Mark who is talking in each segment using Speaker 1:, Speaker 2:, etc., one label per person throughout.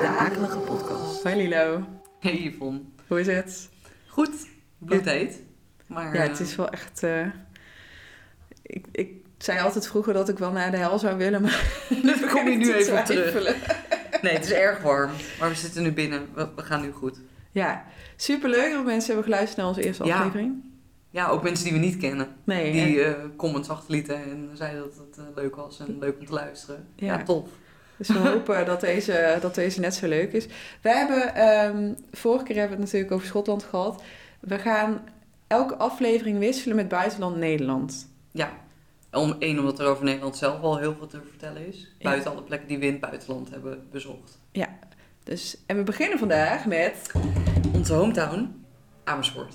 Speaker 1: De akelige podcast.
Speaker 2: Hoi Lilo,
Speaker 1: Hey Yvonne.
Speaker 2: hoe is het?
Speaker 1: Goed, bloedheet. Maar
Speaker 2: Ja,
Speaker 1: eh,
Speaker 2: het is wel echt... eh, ik, ik zei altijd vroeger dat ik wel naar de hel zou willen, maar...
Speaker 1: daar kom je nu
Speaker 2: te
Speaker 1: even op terug.
Speaker 2: twijfelen.
Speaker 1: eh, Nee, het is erg warm. Maar we zitten nu binnen. We, we gaan nu goed.
Speaker 2: Ja, superleuk dat mensen hebben geluisterd naar onze eerste
Speaker 1: Ja.
Speaker 2: aflevering.
Speaker 1: Ja, ook mensen die we niet kennen.
Speaker 2: Nee,
Speaker 1: Die
Speaker 2: en
Speaker 1: eh, comments achterlieten en zeiden dat het eh, leuk was en leuk om te luisteren. Ja,
Speaker 2: Ja.
Speaker 1: tof.
Speaker 2: dus we hopen dat deze, dat deze net zo leuk is. We hebben, ehm, vorige keer hebben we het natuurlijk over Schotland gehad. We gaan elke aflevering wisselen met buitenland-Nederland.
Speaker 1: Ja. Om één, omdat er over Nederland zelf al heel veel te vertellen is. Buiten alle plekken die we in het buitenland hebben bezocht.
Speaker 2: Dus, en we beginnen vandaag met...
Speaker 1: Onze hometown, Amersfoort.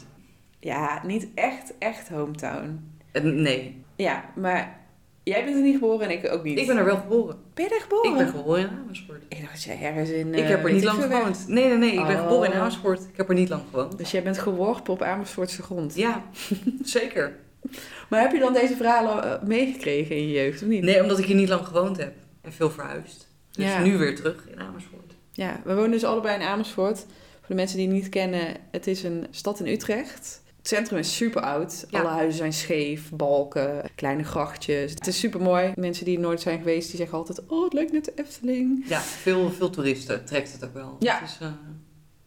Speaker 2: Ja, niet echt, echt hometown.
Speaker 1: Eh, nee,
Speaker 2: Ja, maar jij bent er niet geboren en ik ook niet. Oh.
Speaker 1: ik ben er wel geboren.
Speaker 2: Ben je daar geboren?
Speaker 1: Ik ben geboren in Amersfoort.
Speaker 2: Ik dacht dat jij ergens in...
Speaker 1: Ik
Speaker 2: eh,
Speaker 1: heb er niet
Speaker 2: weet
Speaker 1: lang
Speaker 2: ik veel weg-
Speaker 1: gewoond. Nee, nee, nee. Ik ben
Speaker 2: Oh.
Speaker 1: geboren in Amersfoort. Ik heb er niet lang gewoond.
Speaker 2: Dus jij bent geworpen op Amersfoortse grond.
Speaker 1: Ja, zeker.
Speaker 2: Maar heb je dan deze verhalen eh, meegekregen in je jeugd, of niet?
Speaker 1: Nee, omdat ik hier niet lang gewoond heb. En veel verhuisd. Dus
Speaker 2: Ja.
Speaker 1: nu weer terug in Amersfoort.
Speaker 2: Ja, we wonen dus allebei in Amersfoort. Voor de mensen die het niet kennen, het is een stad in Utrecht. Het centrum is super oud.
Speaker 1: Ja.
Speaker 2: Alle huizen zijn scheef, balken, kleine grachtjes. Het is super mooi. Mensen die er nooit zijn geweest, die zeggen altijd... Oh, het lijkt net de Efteling.
Speaker 1: Ja, veel, veel toeristen trekt het ook wel.
Speaker 2: Ja.
Speaker 1: Het is eh,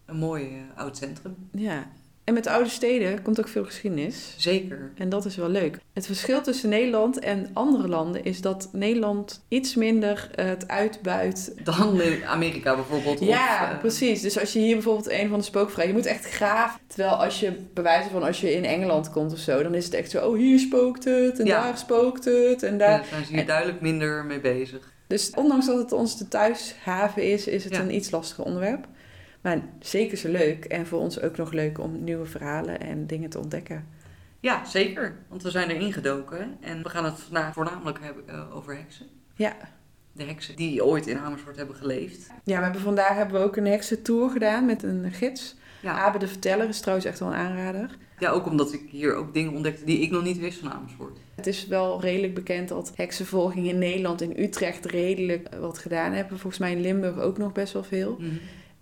Speaker 1: een mooi eh, oud centrum.
Speaker 2: Ja. En met de oude steden komt ook veel geschiedenis.
Speaker 1: Zeker.
Speaker 2: En dat is wel leuk. Het verschil tussen Nederland en andere landen is dat Nederland iets minder eh, het uitbuit.
Speaker 1: Dan in Amerika bijvoorbeeld. of,
Speaker 2: Ja,
Speaker 1: eh,
Speaker 2: precies. Dus als je hier bijvoorbeeld een van de spookvrij, je moet echt graven. Terwijl als je bij wijze van als je in Engeland komt of zo, dan is het echt zo, oh hier spookt het en
Speaker 1: Ja.
Speaker 2: daar spookt het en daar.
Speaker 1: ja, zijn ze hier duidelijk minder mee bezig.
Speaker 2: Dus ondanks dat het ons de thuishaven is, is het
Speaker 1: Ja.
Speaker 2: een iets lastiger onderwerp. Maar zeker zo leuk en voor ons ook nog leuk om nieuwe verhalen en dingen te ontdekken.
Speaker 1: Ja, zeker. Want we zijn erin gedoken. En we gaan het vandaag voornamelijk hebben eh, over heksen.
Speaker 2: Ja.
Speaker 1: De heksen die ooit in Amersfoort hebben geleefd.
Speaker 2: Ja, we hebben vandaag hebben we ook een heksentour gedaan met een gids.
Speaker 1: Ja.
Speaker 2: Abe de Verteller is trouwens echt wel een aanrader.
Speaker 1: Ja, ook omdat ik hier ook dingen ontdekte die ik nog niet wist van Amersfoort.
Speaker 2: Het is wel redelijk bekend dat heksenvolging in Nederland, in Utrecht, redelijk eh, wat gedaan hebben. Volgens mij in Limburg ook nog best wel veel.
Speaker 1: Mhm.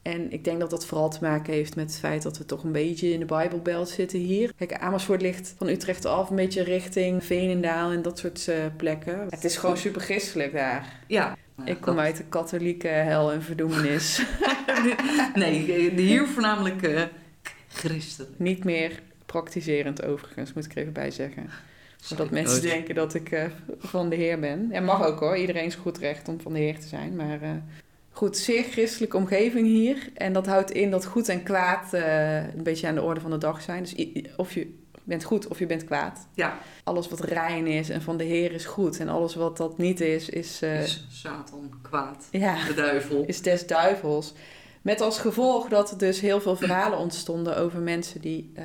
Speaker 2: En ik denk dat dat vooral te maken heeft met het feit dat we toch een beetje in de Bijbelbelt zitten hier. Kijk, Amersfoort ligt van Utrecht af, een beetje richting Veenendaal en dat soort eh, plekken. Het is gewoon super christelijk daar.
Speaker 1: Ja.
Speaker 2: Ik kom
Speaker 1: Dat-
Speaker 2: uit de katholieke hel en verdoemenis.
Speaker 1: Nee, eh, hier voornamelijk eh, k- christelijk.
Speaker 2: Niet meer praktiserend overigens, moet ik er even bij zeggen. Zodat
Speaker 1: Sorry.
Speaker 2: mensen
Speaker 1: Oh,
Speaker 2: denken dat ik eh, van de Heer ben. Ja, mag ook hoor. Iedereen is goed recht om van de Heer te zijn. Maar eh, goed, zeer christelijke omgeving hier. En dat houdt in dat goed en kwaad eh, een beetje aan de orde van de dag zijn. Dus i- i- of je bent goed of je bent kwaad.
Speaker 1: Ja.
Speaker 2: Alles wat rein is en van de Heer is goed. En alles wat dat niet is, is, eh,
Speaker 1: Is Satan kwaad.
Speaker 2: ja,
Speaker 1: De duivel.
Speaker 2: is des duivels. Met als gevolg dat er dus heel veel verhalen ontstonden over mensen die eh,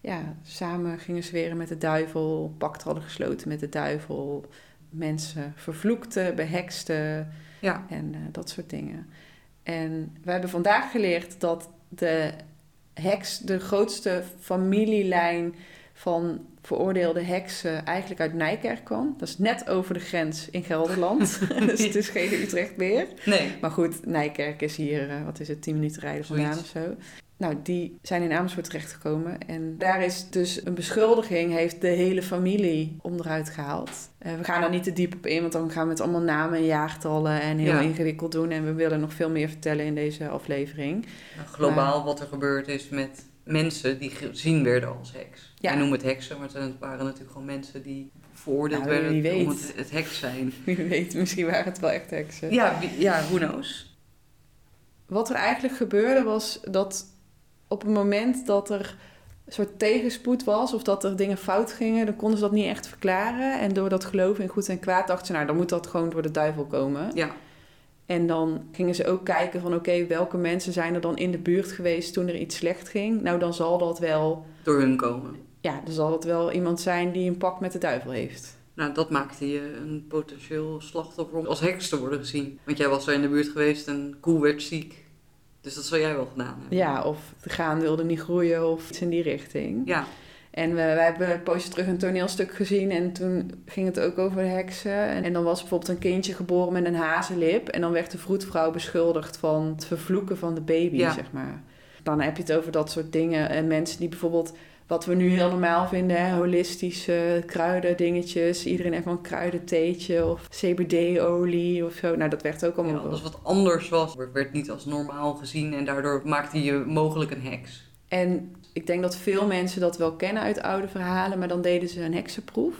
Speaker 2: ja, samen gingen zweren met de duivel, pact hadden gesloten met de duivel, mensen vervloekten, beheksten
Speaker 1: Ja.
Speaker 2: en eh, dat soort dingen. En we hebben vandaag geleerd dat de heks, de grootste familielijn van veroordeelde heksen, eigenlijk uit Nijkerk kwam. Dat is net over de grens in Gelderland. dus het is geen Utrecht meer.
Speaker 1: Nee.
Speaker 2: Maar goed, Nijkerk is hier, eh, wat is het, 10 minuten rijden vandaan of
Speaker 1: Zoiets.
Speaker 2: zo. Nou, die zijn in Amersfoort terechtgekomen. En daar is dus een beschuldiging, heeft de hele familie onderuit gehaald. Eh, we gaan daar niet te diep op in, want dan gaan we het allemaal namen en jaartallen en heel
Speaker 1: Ja.
Speaker 2: ingewikkeld doen. En we willen nog veel meer vertellen in deze aflevering.
Speaker 1: Nou, globaal wat er gebeurd is met mensen die gezien werden als heks.
Speaker 2: Ja.
Speaker 1: Wij noemen het heksen, maar het waren natuurlijk gewoon mensen die veroordeeld
Speaker 2: Nou,
Speaker 1: werden
Speaker 2: wie
Speaker 1: om
Speaker 2: weet.
Speaker 1: het, het heks zijn.
Speaker 2: Wie weet, misschien waren het wel echt eh, heksen.
Speaker 1: Ja, wie- ja, who knows.
Speaker 2: Wat er eigenlijk gebeurde was dat op het moment dat er een soort tegenspoed was of dat er dingen fout gingen, dan konden ze dat niet echt verklaren. En door dat geloof in goed en kwaad dachten ze, nou dan moet dat gewoon door de duivel komen.
Speaker 1: Ja.
Speaker 2: En dan gingen ze ook kijken van oké, welke mensen zijn er dan in de buurt geweest toen er iets slecht ging? Nou dan zal dat wel,
Speaker 1: Door hun komen.
Speaker 2: ja, dan zal dat wel iemand zijn die een pak met de duivel heeft.
Speaker 1: Nou, dat maakte je een potentieel slachtoffer om als heks te worden gezien. Want jij was er in de buurt geweest en koe werd ziek. Dus dat zou jij wel gedaan hebben.
Speaker 2: Ja, of de gaan wilde niet groeien of iets in die richting.
Speaker 1: Ja,
Speaker 2: En we, wij hebben een poosje terug een toneelstuk gezien en toen ging het ook over heksen. En, en dan was bijvoorbeeld een kindje geboren met een hazenlip en dan werd de vroedvrouw beschuldigd van het vervloeken van de baby,
Speaker 1: Ja.
Speaker 2: zeg maar. Dan heb je het over dat soort dingen. En mensen die bijvoorbeeld, wat we nu heel normaal vinden, hè, holistische kruiden dingetjes. Iedereen heeft wel een kruidentheetje of CBD-olie of zo. Nou, dat werd ook allemaal...
Speaker 1: Ja, als wat anders was, werd- werd niet als normaal gezien en daardoor maakte je mogelijk een heks.
Speaker 2: En ik denk dat veel mensen dat wel kennen uit oude verhalen, maar dan deden ze een heksenproef.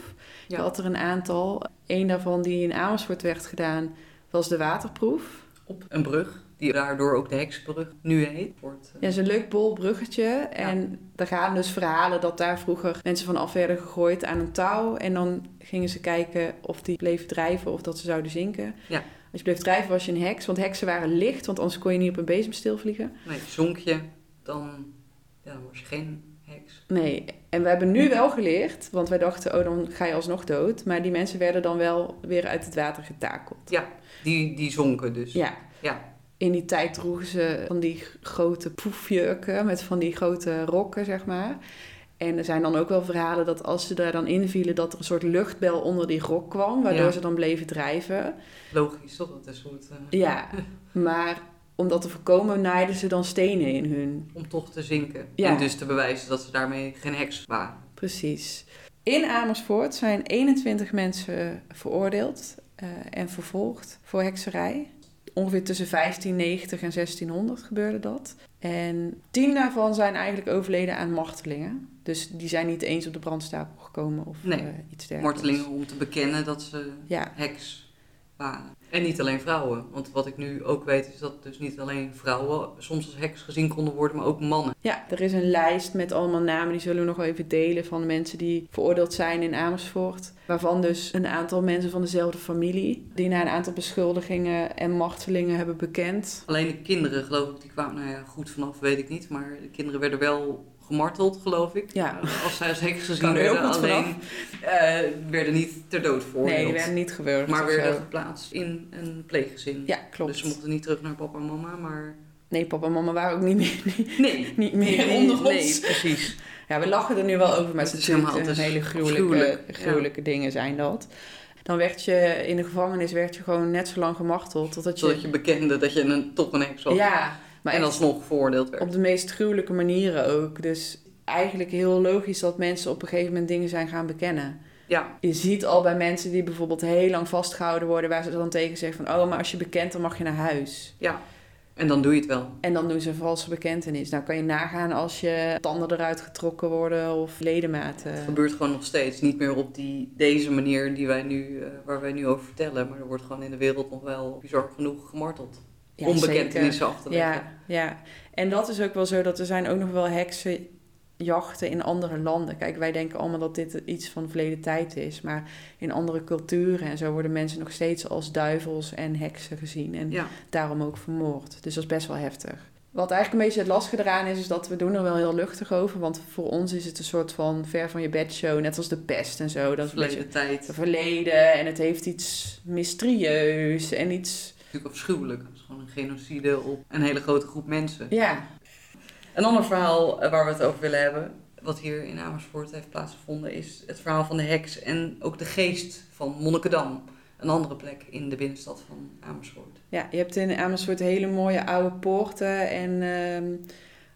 Speaker 1: Ja.
Speaker 2: Ja. had er een aantal. Eén daarvan die in Amersfoort werd gedaan, was de waterproef.
Speaker 1: Op een brug, die daardoor ook de heksenbrug nu heet. Wordt, eh,
Speaker 2: Ja, is een leuk bol bruggetje. En daar gaan dus verhalen dat daar vroeger mensen vanaf werden gegooid aan een touw. En dan gingen ze kijken of die bleven drijven of dat ze zouden zinken.
Speaker 1: Ja.
Speaker 2: Als je bleef drijven was je een heks, want heksen waren licht, want anders kon je niet op een bezemstil vliegen.
Speaker 1: Nee, zonk je, dan, ja, dan was je geen heks.
Speaker 2: Nee, en we hebben nu wel geleerd, want wij dachten, oh, dan ga je alsnog dood. Maar die mensen werden dan wel weer uit het water getakeld.
Speaker 1: Die, die zonken dus.
Speaker 2: Ja.
Speaker 1: Ja.
Speaker 2: In die tijd droegen ze van die grote poefjurken met van die grote rokken, zeg maar. En er zijn dan ook wel verhalen dat als ze daar dan invielen, dat er een soort luchtbel onder die rok kwam, waardoor
Speaker 1: Ja.
Speaker 2: ze dan bleven drijven.
Speaker 1: Logisch, toch? Dat is hoe het... eh,
Speaker 2: Ja, maar om dat te voorkomen, naaiden ze dan stenen in hun
Speaker 1: Om toch te zinken.
Speaker 2: Ja.
Speaker 1: En dus te bewijzen dat ze daarmee geen heks waren.
Speaker 2: Precies. In Amersfoort zijn 21 mensen veroordeeld eh, en vervolgd voor hekserij. Ongeveer tussen 1590 en 1600 gebeurde dat. En tien daarvan zijn eigenlijk overleden aan martelingen. Dus die zijn niet eens op de brandstapel gekomen of
Speaker 1: Nee,
Speaker 2: eh, iets dergelijks.
Speaker 1: Martelingen om te bekennen dat ze
Speaker 2: Ja,
Speaker 1: heks waren. En niet alleen vrouwen. Want wat ik nu ook weet is dat dus niet alleen vrouwen soms als heks gezien konden worden, maar ook mannen.
Speaker 2: Ja, er is een lijst met allemaal namen, die zullen we nog wel even delen, van mensen die veroordeeld zijn in Amersfoort. Waarvan dus een aantal mensen van dezelfde familie, die na een aantal beschuldigingen en martelingen hebben bekend.
Speaker 1: Alleen de kinderen, geloof ik, die kwamen nou ja, goed vanaf, weet ik niet. Maar de kinderen werden wel gemarteld, geloof ik. Nou,
Speaker 2: Ja,
Speaker 1: Als zij als heks gezien
Speaker 2: Kan er heel
Speaker 1: werden,
Speaker 2: goed
Speaker 1: alleen eh, werden niet ter dood veroordeeld.
Speaker 2: nee, die werden niet gewurgd.
Speaker 1: maar
Speaker 2: of
Speaker 1: werden
Speaker 2: zo.
Speaker 1: geplaatst in een pleeggezin.
Speaker 2: Ja,
Speaker 1: Dus ze
Speaker 2: klopt.
Speaker 1: mochten niet terug naar papa en mama, maar...
Speaker 2: Nee, papa en mama waren ook niet meer, niet,
Speaker 1: Nee,
Speaker 2: niet meer
Speaker 1: Nee,
Speaker 2: onder
Speaker 1: Nee,
Speaker 2: ons.
Speaker 1: precies.
Speaker 2: Ja, we lachen er nu wel over, maar
Speaker 1: Het
Speaker 2: het
Speaker 1: is
Speaker 2: is natuurlijk
Speaker 1: helemaal- het
Speaker 2: een
Speaker 1: is
Speaker 2: hele gruwelijke,
Speaker 1: gruwelijk, ja.
Speaker 2: gruwelijke dingen zijn dat. Dan werd je in de gevangenis werd je gewoon net zo lang gemarteld totdat je...
Speaker 1: Zodat je bekende dat je een, toch een heks was.
Speaker 2: ja, maar
Speaker 1: en
Speaker 2: echt-
Speaker 1: alsnog veroordeeld werd.
Speaker 2: Op de meest gruwelijke manieren ook. Dus eigenlijk heel logisch dat mensen op een gegeven moment dingen zijn gaan bekennen.
Speaker 1: Ja,
Speaker 2: Je ziet al bij mensen die bijvoorbeeld heel lang vastgehouden worden, waar ze dan tegen zeggen van, oh, maar als je bekent, dan mag je naar huis.
Speaker 1: en dan doe je het wel.
Speaker 2: En dan doen ze een valse bekentenis. Nou kan je nagaan als je tanden eruit getrokken worden of
Speaker 1: Het
Speaker 2: ledematen.
Speaker 1: gebeurt gewoon nog steeds. Niet meer op die, deze manier die wij nu, eh, waar wij nu over vertellen. Maar er wordt gewoon in de wereld nog wel bizar genoeg gemarteld.
Speaker 2: Ja,
Speaker 1: om
Speaker 2: zeker.
Speaker 1: bekentenissen af te leggen.
Speaker 2: Ja, ja, en dat is ook wel zo dat er zijn ook nog wel heksenjachten in andere landen. Kijk, wij denken allemaal dat dit iets van verleden tijd is, maar in andere culturen en zo worden mensen nog steeds als duivels en heksen gezien en
Speaker 1: Ja.
Speaker 2: daarom ook vermoord. Dus dat is best wel heftig. Wat eigenlijk een beetje het lastige eraan is, is dat we doen er wel heel luchtig over, want voor ons is het een soort van ver van je bed show, net als de pest en zo. Dat is een
Speaker 1: verleden
Speaker 2: beetje
Speaker 1: tijd.
Speaker 2: het verleden en het heeft iets mysterieus en iets,
Speaker 1: Natuurlijk afschuwelijk. Het is gewoon een genocide op een hele grote groep mensen.
Speaker 2: ja,
Speaker 1: Een ander verhaal eh, waar we het over willen hebben, wat hier in Amersfoort heeft plaatsgevonden, is het verhaal van de heks en ook de geest van Monnikendam. Een andere plek in de binnenstad van Amersfoort.
Speaker 2: Ja, je hebt in Amersfoort hele mooie oude poorten en ehm,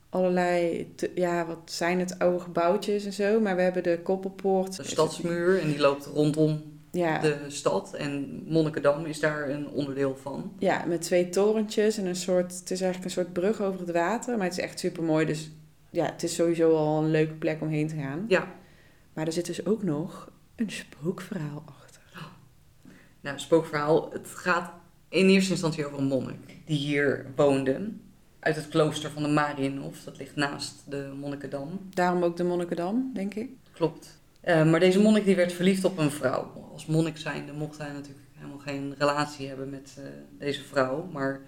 Speaker 2: allerlei, te- ja, wat zijn het, oude gebouwtjes en zo. Maar we hebben de Koppelpoort.
Speaker 1: De stadsmuur en die loopt rondom
Speaker 2: Ja,
Speaker 1: de stad en Monnikendam is daar een onderdeel van.
Speaker 2: ja, met twee torentjes en een soort, het is eigenlijk een soort brug over het water. Maar het is echt super mooi, dus ja, het is sowieso al een leuke plek om heen te gaan.
Speaker 1: Ja.
Speaker 2: Maar er zit dus ook nog een spookverhaal achter.
Speaker 1: Nou, spookverhaal. Het gaat in eerste instantie over een monnik die hier woonde. Uit het klooster van de Marienhof, dat ligt naast de Monnikendam.
Speaker 2: Daarom ook de Monnikendam, denk ik.
Speaker 1: Klopt. Eh, maar deze monnik die werd verliefd op een vrouw. Als monnik zijnde mocht hij natuurlijk helemaal geen relatie hebben met eh, deze vrouw. Maar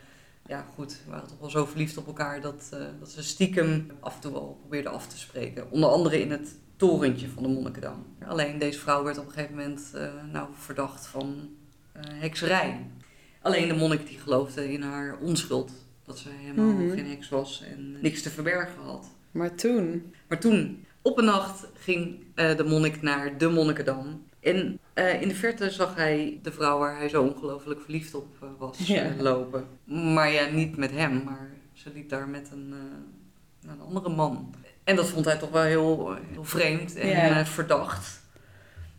Speaker 1: ja, goed, we waren toch wel zo verliefd op elkaar dat, eh, dat ze stiekem af en toe al probeerden af te spreken. Onder andere in het torentje van de Monnikendam. Alleen deze vrouw werd op een gegeven moment eh, nou, verdacht van eh, hekserij. Alleen de monnik die geloofde in haar onschuld. Dat ze helemaal
Speaker 2: Mhm.
Speaker 1: geen heks was en niks te verbergen had.
Speaker 2: Maar toen,
Speaker 1: Maar toen Op een nacht ging eh, de monnik naar de Monnikendam. En eh, in de verte zag hij de vrouw waar hij zo ongelooflijk verliefd op eh, was
Speaker 2: Ja.
Speaker 1: eh, lopen. Maar ja, niet met hem, maar ze liep daar met een, eh, een andere man. En dat vond hij toch wel heel, eh, heel vreemd en
Speaker 2: Ja.
Speaker 1: eh, verdacht.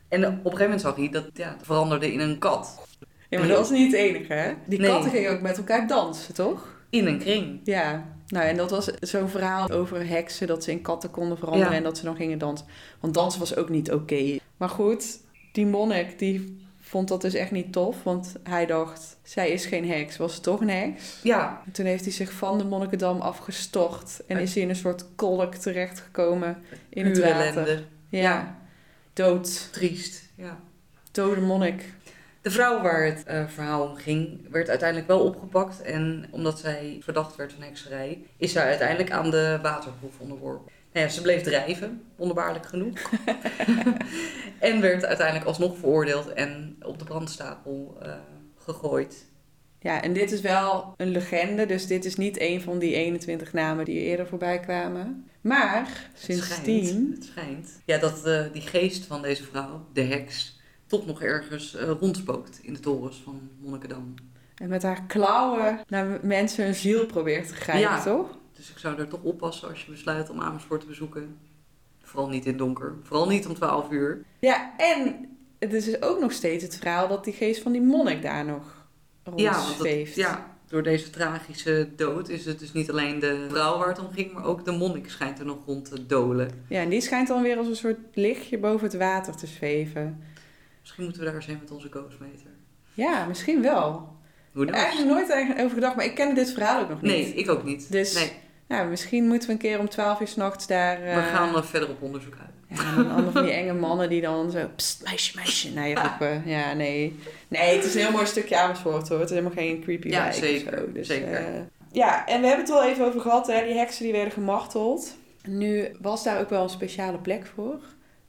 Speaker 1: En op een gegeven moment zag hij dat ja, het veranderde in een kat.
Speaker 2: Ja, maar dat was niet het enige, hè? Die
Speaker 1: Nee.
Speaker 2: katten gingen ook met elkaar dansen, toch?
Speaker 1: In een kring.
Speaker 2: Ja. Nou, en dat was zo'n verhaal over heksen, dat ze in katten konden veranderen
Speaker 1: Ja.
Speaker 2: en dat ze dan gingen dansen. Want dansen was ook niet oké. Maar goed, die monnik, die vond dat dus echt niet tof, want hij dacht, zij is geen heks, was ze toch een heks?
Speaker 1: Ja,
Speaker 2: En toen heeft hij zich van de Monnikendam afgestort en
Speaker 1: Uit-
Speaker 2: is hij in een soort kolk terechtgekomen in het
Speaker 1: pure
Speaker 2: water.
Speaker 1: ellende.
Speaker 2: Ja. Dood.
Speaker 1: Triest, ja.
Speaker 2: Dode monnik.
Speaker 1: De vrouw waar het eh, verhaal om ging, werd uiteindelijk wel opgepakt. En omdat zij verdacht werd van hekserij, is zij uiteindelijk aan de waterproef onderworpen. Nou ja, ze bleef drijven, wonderbaarlijk genoeg. en werd uiteindelijk alsnog veroordeeld en op de brandstapel eh, gegooid.
Speaker 2: Ja, en dit is wel een legende, dus dit is niet een van die 21 namen die eerder voorbij kwamen. Maar
Speaker 1: schijnt,
Speaker 2: sindsdien,
Speaker 1: het schijnt. Ja, dat eh, die geest van deze vrouw, de heks, toch nog ergens eh, rondspookt in de torens van Monnikendam.
Speaker 2: en met haar klauwen naar mensen hun ziel probeert te grijpen,
Speaker 1: Ja.
Speaker 2: toch?
Speaker 1: Dus ik zou er toch oppassen als je besluit om Amersfoort te bezoeken. Vooral niet in het donker. Vooral niet om 12 uur.
Speaker 2: Ja, en het is dus ook nog steeds het verhaal dat die geest van die monnik daar nog
Speaker 1: want dat-
Speaker 2: rondzweeft.
Speaker 1: ja, door deze tragische dood is het dus niet alleen de vrouw waar het om ging, maar ook de monnik schijnt er nog rond te dolen.
Speaker 2: ja, en die schijnt dan weer als een soort lichtje boven het water te zweven.
Speaker 1: Misschien moeten we daar eens heen met onze ghostmeter.
Speaker 2: Ja, misschien wel.
Speaker 1: Hoe
Speaker 2: Ik
Speaker 1: dan?
Speaker 2: heb eigenlijk nooit eigenlijk over gedacht, maar ik ken dit verhaal ook nog niet.
Speaker 1: Nee, ik ook niet.
Speaker 2: Dus
Speaker 1: nee,
Speaker 2: Nou, misschien moeten we een keer om 12 uur s'nachts daar.
Speaker 1: we
Speaker 2: eh,
Speaker 1: gaan er verder op onderzoek uit.
Speaker 2: Ja, en dan allemaal van die enge mannen die dan zo... Psst, meisje, meisje, naar je
Speaker 1: Ah.
Speaker 2: roepen. Ja, nee. Nee, het is een heel mooi stukje Amersfoort, hoor. Het is helemaal geen creepy
Speaker 1: Ja,
Speaker 2: wijk of
Speaker 1: zeker,
Speaker 2: zo. Dus,
Speaker 1: zeker.
Speaker 2: eh, ja, en we hebben het er al even over gehad, hè. Die heksen die werden gemarteld. Nu was daar ook wel een speciale plek voor.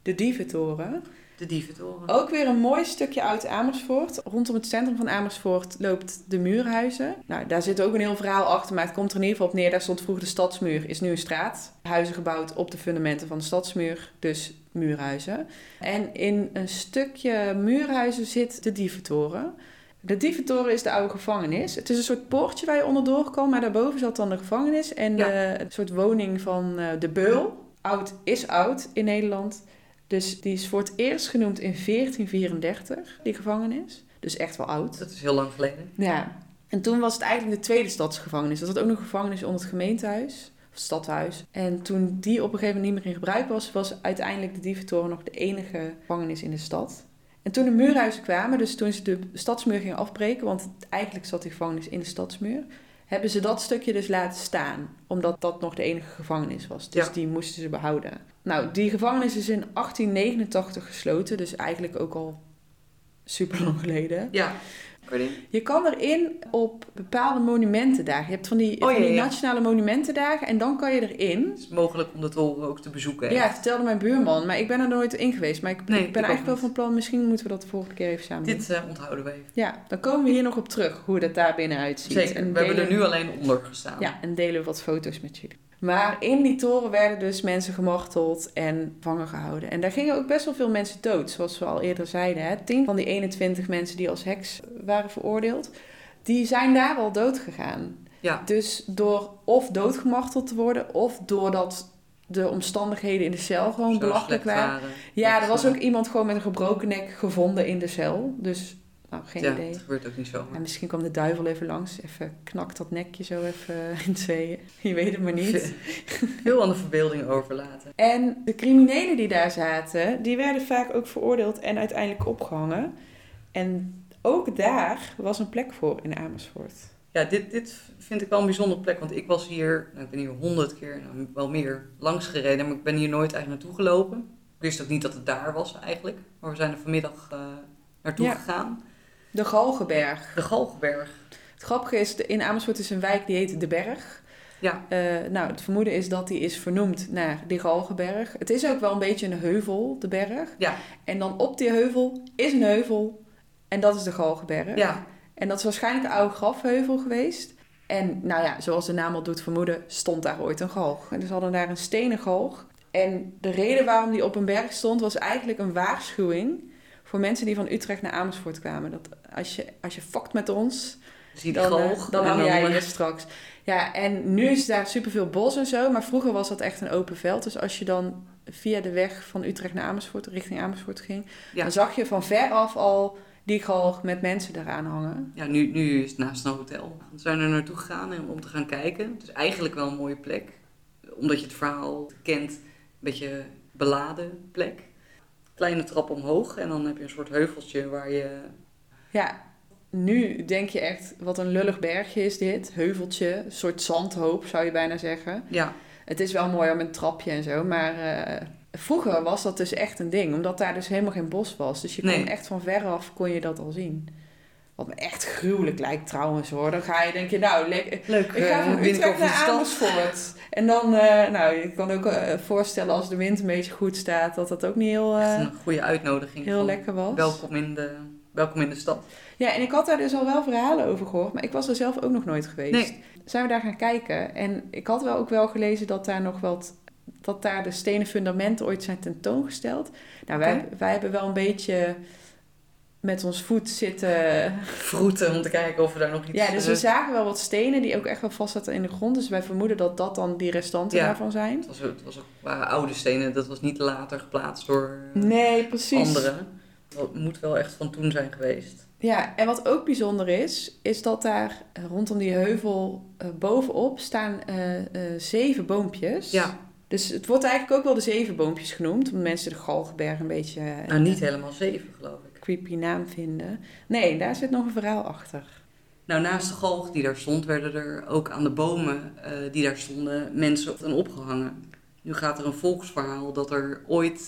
Speaker 2: De Dieventoren.
Speaker 1: De dieventoren.
Speaker 2: Ook weer een mooi stukje uit Amersfoort. Rondom het centrum van Amersfoort loopt de Muurhuizen. Nou, daar zit ook een heel verhaal achter, maar het komt er in ieder geval op neer. Daar stond vroeger de stadsmuur, is nu een straat. Huizen gebouwd op de fundamenten van de stadsmuur, dus Muurhuizen. En in een stukje Muurhuizen zit de Dieventoren. De Dieventoren is de oude gevangenis. Het is een soort poortje waar je onderdoor kan, maar daarboven zat dan de gevangenis en
Speaker 1: Ja.
Speaker 2: de, een soort woning van eh, de Beul. Oud is oud in Nederland. Dus die is voor het eerst genoemd in 1434, die gevangenis. Dus echt wel oud.
Speaker 1: Dat is heel lang geleden.
Speaker 2: Ja. En toen was het eigenlijk de tweede stadsgevangenis. Er zat ook nog een gevangenis onder het gemeentehuis, of het stadhuis. En toen die op een gegeven moment niet meer in gebruik was, was uiteindelijk de Dieventoren nog de enige gevangenis in de stad. En toen de muurhuizen kwamen, dus toen ze de stadsmuur gingen afbreken, want eigenlijk zat die gevangenis in de stadsmuur, hebben ze dat stukje dus laten staan, omdat dat nog de enige gevangenis was. Dus
Speaker 1: Ja.
Speaker 2: die moesten ze behouden. Nou, die gevangenis is in 1889 gesloten, dus eigenlijk ook al super lang geleden.
Speaker 1: Ja, Pardon?
Speaker 2: Je kan erin op bepaalde monumentendagen. Je hebt van die,
Speaker 1: Oh,
Speaker 2: van die
Speaker 1: ja, ja.
Speaker 2: nationale monumentendagen en dan kan je erin.
Speaker 1: het is mogelijk om de toren ook te bezoeken.
Speaker 2: Ja, vertelde mijn buurman, maar ik ben er nooit in geweest. Maar ik,
Speaker 1: Nee,
Speaker 2: ik ben
Speaker 1: ik ook
Speaker 2: eigenlijk wel
Speaker 1: niet.
Speaker 2: van plan, misschien moeten we dat de volgende keer even samen doen.
Speaker 1: Dit eh, onthouden we even.
Speaker 2: Ja, dan komen we hier nog op terug, hoe dat daar binnen uitziet.
Speaker 1: Zeker,
Speaker 2: En
Speaker 1: we hebben
Speaker 2: delen-
Speaker 1: er nu alleen onder gestaan.
Speaker 2: Ja, en delen we wat foto's met jullie. Maar in die toren werden dus mensen gemarteld en vangen gehouden. En daar gingen ook best wel veel mensen dood, zoals we al eerder zeiden. Hè. Tien van die 21 mensen die als heks waren veroordeeld, die zijn daar al dood gegaan.
Speaker 1: Ja.
Speaker 2: Dus door of doodgemarteld te worden, of doordat de omstandigheden in de cel gewoon
Speaker 1: Zo
Speaker 2: belachelijk
Speaker 1: slecht
Speaker 2: waren.
Speaker 1: waren.
Speaker 2: Ja,
Speaker 1: Dat,
Speaker 2: er was
Speaker 1: eh,
Speaker 2: ook iemand gewoon met een gebroken nek gevonden in de cel. Dus, nou, geen
Speaker 1: ja,
Speaker 2: idee.
Speaker 1: dat gebeurt ook niet zomaar.
Speaker 2: En misschien kwam de duivel even langs. Even knakt dat nekje zo even in tweeën. Je weet het maar niet.
Speaker 1: Heel aan de verbeelding overlaten.
Speaker 2: En de criminelen die daar zaten, die werden vaak ook veroordeeld en uiteindelijk opgehangen. En ook daar was een plek voor in Amersfoort.
Speaker 1: Ja, dit, dit vind ik wel een bijzondere plek. Want ik was hier, nou, ik ben hier honderd keer, nou, wel meer, langs gereden. Maar ik ben hier nooit eigenlijk naartoe gelopen. Ik wist ook niet dat het daar was eigenlijk. Maar we zijn er vanmiddag eh, naartoe
Speaker 2: Ja.
Speaker 1: gegaan.
Speaker 2: De Galgenberg.
Speaker 1: De Galgenberg.
Speaker 2: Het grappige is, de- in Amersfoort is een wijk die heet De Berg.
Speaker 1: Ja.
Speaker 2: Eh, nou, het vermoeden is dat die is vernoemd naar de Galgenberg. Het is ook wel een beetje een heuvel, de berg.
Speaker 1: Ja.
Speaker 2: En dan op die heuvel is een heuvel. En dat is de Galgenberg.
Speaker 1: Ja,
Speaker 2: En dat is waarschijnlijk een oude grafheuvel geweest. En nou ja, zoals de naam al doet vermoeden, stond daar ooit een galg. En dus hadden daar een stenen galg. En de reden waarom die op een berg stond was eigenlijk een waarschuwing voor mensen die van Utrecht naar Amersfoort kwamen. Dat als je, als je fokt met ons,
Speaker 1: Zie
Speaker 2: dan, eh,
Speaker 1: galg.
Speaker 2: dan
Speaker 1: en
Speaker 2: hang jij
Speaker 1: eh,
Speaker 2: hier straks. Ja, en nu is daar superveel bos en zo, maar vroeger was dat echt een open veld. Dus als je dan via de weg van Utrecht naar Amersfoort, richting Amersfoort ging,
Speaker 1: Ja.
Speaker 2: dan zag je van ver af al die galg met mensen daaraan hangen.
Speaker 1: Ja, nu, nu is het naast een hotel. We zijn er naartoe gegaan en om te gaan kijken. Het is eigenlijk wel een mooie plek. Omdat je het verhaal kent, een beetje beladen plek. Kleine trap omhoog en dan heb je een soort heuveltje waar je...
Speaker 2: Ja, nu denk je echt, wat een lullig bergje is dit. Heuveltje, een soort zandhoop zou je bijna zeggen.
Speaker 1: Ja,
Speaker 2: Het is wel mooi om een trapje en zo, maar eh, vroeger was dat dus echt een ding. Omdat daar dus helemaal geen bos was. Dus je kon
Speaker 1: Nee.
Speaker 2: echt van veraf kon je dat al zien. Wat me echt gruwelijk lijkt trouwens hoor. Dan ga je denk je, nou, lekker...
Speaker 1: leuk.
Speaker 2: Ik ga van Utrecht naar Amersfoort. En dan, eh, nou, je kan ook eh, voorstellen als de wind een beetje goed staat, dat dat ook niet heel, eh,
Speaker 1: Echt een goede uitnodiging.
Speaker 2: heel
Speaker 1: van
Speaker 2: lekker was.
Speaker 1: Welkom in, de, welkom in de stad.
Speaker 2: Ja, en ik had daar dus al wel verhalen over gehoord, maar ik was er zelf ook nog nooit geweest.
Speaker 1: Nee.
Speaker 2: Zijn we daar gaan kijken en ik had wel ook wel gelezen dat daar nog wat, dat daar de stenen fundamenten ooit zijn tentoongesteld. Nou, wij, wij hebben wel een beetje met ons voet zitten.
Speaker 1: Vroeten om te kijken of we daar nog iets...
Speaker 2: Ja, dus we
Speaker 1: eh,
Speaker 2: zagen wel wat stenen die ook echt wel vast zaten in de grond. Dus wij vermoeden dat dat dan die restanten
Speaker 1: Ja.
Speaker 2: daarvan zijn.
Speaker 1: het, was, het was ook, waren oude stenen, dat was niet later geplaatst door eh,
Speaker 2: Nee, precies.
Speaker 1: anderen. Dat moet wel echt van toen zijn geweest.
Speaker 2: Ja, en wat ook bijzonder is, is dat daar eh, rondom die heuvel eh, bovenop staan eh, eh, zeven boompjes.
Speaker 1: Ja,
Speaker 2: Dus het wordt eigenlijk ook wel de zeven boompjes genoemd, omdat mensen de Galgenberg een beetje eh,
Speaker 1: Nou, niet helemaal zeven, geloof ik.
Speaker 2: een creepy naam vinden. Nee, daar zit nog een verhaal achter.
Speaker 1: Nou, naast de galg die daar stond, werden er ook aan de bomen eh, die daar stonden mensen aan opgehangen. Nu gaat er een volksverhaal dat er ooit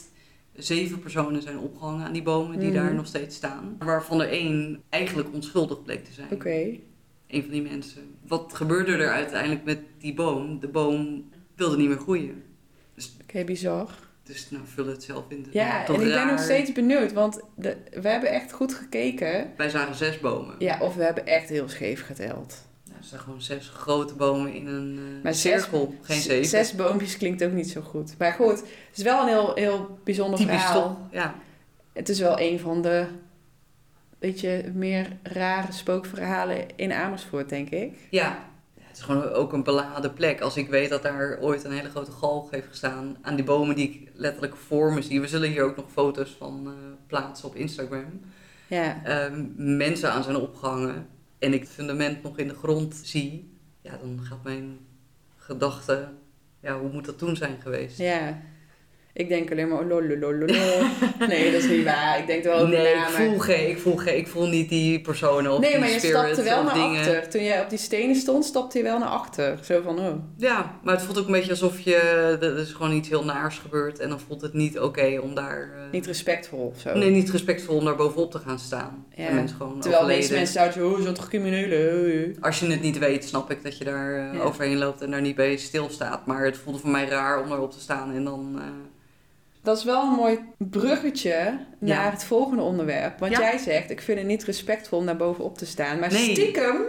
Speaker 1: zeven personen zijn opgehangen aan die bomen die
Speaker 2: Mhm.
Speaker 1: daar nog steeds staan. Waarvan er één eigenlijk onschuldig bleek te zijn.
Speaker 2: Oké.
Speaker 1: Eén van die mensen. Wat gebeurde er uiteindelijk met die boom? De boom wilde niet meer groeien.
Speaker 2: Oké, bizar.
Speaker 1: Dus nou, vul het zelf in.
Speaker 2: Ja,
Speaker 1: Toch
Speaker 2: en ik ben
Speaker 1: raar.
Speaker 2: nog steeds benieuwd, want de, we hebben echt goed gekeken.
Speaker 1: Wij zagen zes bomen.
Speaker 2: Ja, of we hebben echt heel scheef geteld.
Speaker 1: Nou, er zijn gewoon zes grote bomen in een eh,
Speaker 2: Maar zes-
Speaker 1: cirkel. Geen
Speaker 2: Z-
Speaker 1: zeven.
Speaker 2: Zes boompjes klinkt ook niet zo goed. Maar goed, het is wel een heel, heel bijzonder
Speaker 1: Typisch
Speaker 2: verhaal.
Speaker 1: toch? Ja.
Speaker 2: Het is wel een van de, weet je, meer rare spookverhalen in Amersfoort, denk ik.
Speaker 1: Ja. Het is gewoon ook een beladen plek. Als ik weet dat daar ooit een hele grote galg heeft gestaan aan die bomen die ik letterlijk voor me zie. We zullen hier ook nog foto's van eh, plaatsen op Instagram.
Speaker 2: Ja.
Speaker 1: Ehm, mensen aan zijn opgehangen en ik het fundament nog in de grond zie. Ja, dan gaat mijn gedachte, ja, hoe moet dat toen zijn geweest?
Speaker 2: Ja. Ik denk alleen maar oh, lololololol. Nee, dat is niet waar. Ik denk er wel over
Speaker 1: nee,
Speaker 2: na,
Speaker 1: ik
Speaker 2: maar-
Speaker 1: voel, geen, ik, voel geen, ik voel niet die personen of
Speaker 2: Nee,
Speaker 1: die
Speaker 2: maar je
Speaker 1: spirits
Speaker 2: stapte wel
Speaker 1: of
Speaker 2: naar
Speaker 1: dingen.
Speaker 2: achter. Toen jij op die stenen stond, stapte je wel naar achter. Zo van, oh.
Speaker 1: Ja, maar het voelt ook een beetje alsof je, er is gewoon iets heel naars gebeurd en dan voelt het niet oké om daar... eh,
Speaker 2: Niet respectvol of zo.
Speaker 1: Nee, niet respectvol om daar bovenop te gaan staan.
Speaker 2: Ja.
Speaker 1: En mensen gewoon
Speaker 2: Terwijl
Speaker 1: overleden.
Speaker 2: deze mensen zouden zo, oh, zo'n toch criminelen. oh, oh.
Speaker 1: Als je het niet weet, snap ik dat je daar eh,
Speaker 2: Ja.
Speaker 1: overheen loopt en daar niet bij stilstaat. Maar het voelde voor mij raar om erop te staan en dan... eh,
Speaker 2: Dat is wel een mooi bruggetje naar
Speaker 1: Ja.
Speaker 2: het volgende onderwerp. Want
Speaker 1: Ja.
Speaker 2: jij zegt, ik vind het niet respectvol om daar bovenop te staan. Maar
Speaker 1: Nee.
Speaker 2: stiekem,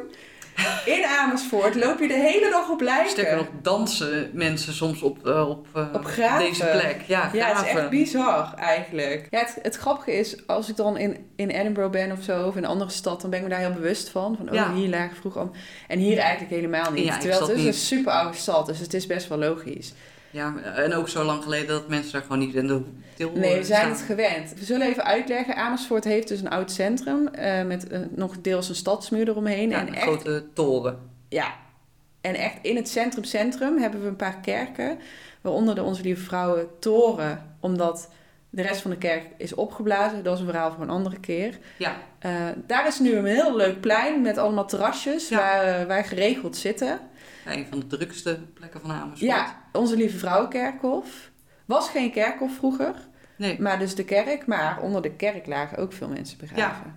Speaker 2: in Amersfoort, loop je de hele dag op lijken.
Speaker 1: sterker nog, dansen mensen soms op, eh, op, eh,
Speaker 2: Op graven.
Speaker 1: deze plek. Ja, graven.
Speaker 2: Ja, het is echt bizar eigenlijk. Ja, het, het grappige is, als ik dan in, in Edinburgh ben of zo, of in een andere stad, dan ben ik me daar heel bewust van. Van, oh,
Speaker 1: Ja.
Speaker 2: hier lagen vroeger al. En hier eigenlijk helemaal niet.
Speaker 1: Ja, ik
Speaker 2: Terwijl het
Speaker 1: zat
Speaker 2: is
Speaker 1: niet.
Speaker 2: een super oude stad, dus het is best wel logisch.
Speaker 1: Ja, maar- en ook zo lang geleden dat mensen daar gewoon niet in de stil
Speaker 2: Nee,
Speaker 1: eh,
Speaker 2: we zijn
Speaker 1: staan.
Speaker 2: het gewend. We zullen even uitleggen. Amersfoort heeft dus een oud centrum eh, met een- nog deels een stadsmuur eromheen.
Speaker 1: Ja,
Speaker 2: en,
Speaker 1: een
Speaker 2: echt,
Speaker 1: grote toren.
Speaker 2: ja, en echt in het centrum centrum hebben we een paar kerken. Waaronder de Onze Lieve Vrouwen Toren. Omdat de rest van de kerk is opgeblazen. Dat is een verhaal voor een andere keer.
Speaker 1: Ja,
Speaker 2: Eh, daar is nu een heel leuk plein met allemaal terrasjes
Speaker 1: Ja.
Speaker 2: waar eh, wij geregeld zitten.
Speaker 1: een van de drukste plekken van Amersfoort.
Speaker 2: Ja, Onze Lieve Vrouwenkerkhof. Was geen kerkhof vroeger.
Speaker 1: Nee.
Speaker 2: Maar dus de kerk, maar onder de kerk lagen ook veel mensen begraven.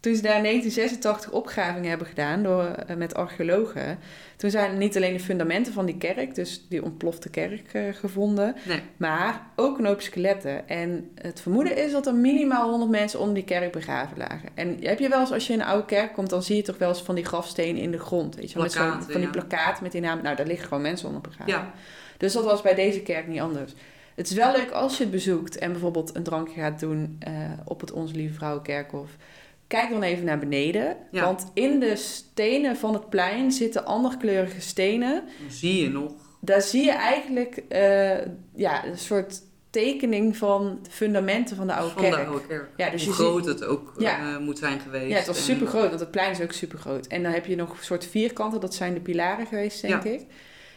Speaker 2: Toen ze daar in 1986 opgravingen hebben gedaan door, eh, met archeologen, toen zijn niet alleen de fundamenten van die kerk, dus die ontplofte kerk, eh, gevonden,
Speaker 1: Nee.
Speaker 2: maar ook een hoop skeletten. En het vermoeden is dat er minimaal 100 mensen om die kerk begraven lagen. En heb je wel eens, als je in een oude kerk komt, dan zie je toch wel eens van die grafstenen in de grond, weet je wel, met zo'n-
Speaker 1: Plakkaten,
Speaker 2: van
Speaker 1: ja.
Speaker 2: die plakkaten met die naam. Nou, daar liggen gewoon mensen onder begraven.
Speaker 1: Ja.
Speaker 2: Dus dat was bij deze kerk niet anders. Het is wel leuk als je het bezoekt en bijvoorbeeld een drankje gaat doen eh, op het Onze Lieve Vrouwenkerkhof. Kijk dan even naar beneden.
Speaker 1: Ja.
Speaker 2: Want in de stenen van het plein zitten anderkleurige stenen.
Speaker 1: Dan zie je nog.
Speaker 2: Daar zie je eigenlijk eh, ja, een soort tekening van de fundamenten van de oude
Speaker 1: van
Speaker 2: kerk.
Speaker 1: de oude kerk.
Speaker 2: Ja, dus
Speaker 1: Hoe
Speaker 2: je ziet-
Speaker 1: groot het ook
Speaker 2: Ja.
Speaker 1: eh, moet zijn geweest.
Speaker 2: Ja, het was
Speaker 1: En-
Speaker 2: super groot, want het plein is ook super groot. En dan heb je nog een soort vierkanten, dat zijn de pilaren geweest, denk ik.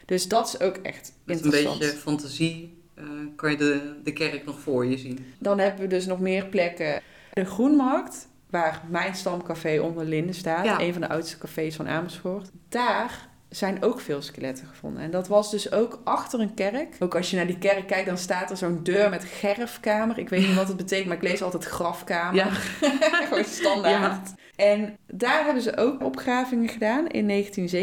Speaker 2: Dus dat is ook echt
Speaker 1: Met een
Speaker 2: interessant.
Speaker 1: beetje fantasie eh, kan je de, de kerk nog voor je zien.
Speaker 2: Dan hebben we dus nog meer plekken. De Groenmarkt, waar mijn stamcafé onder Linden staat,
Speaker 1: Ja.
Speaker 2: een van de oudste cafés van Amersfoort. Daar zijn ook veel skeletten gevonden. En dat was dus ook achter een kerk. Ook als je naar die kerk kijkt, dan staat er zo'n deur met gerfkamer. Ik weet niet wat het betekent, maar ik lees altijd grafkamer.
Speaker 1: Ja.
Speaker 2: Gewoon standaard. En daar hebben ze ook opgravingen gedaan in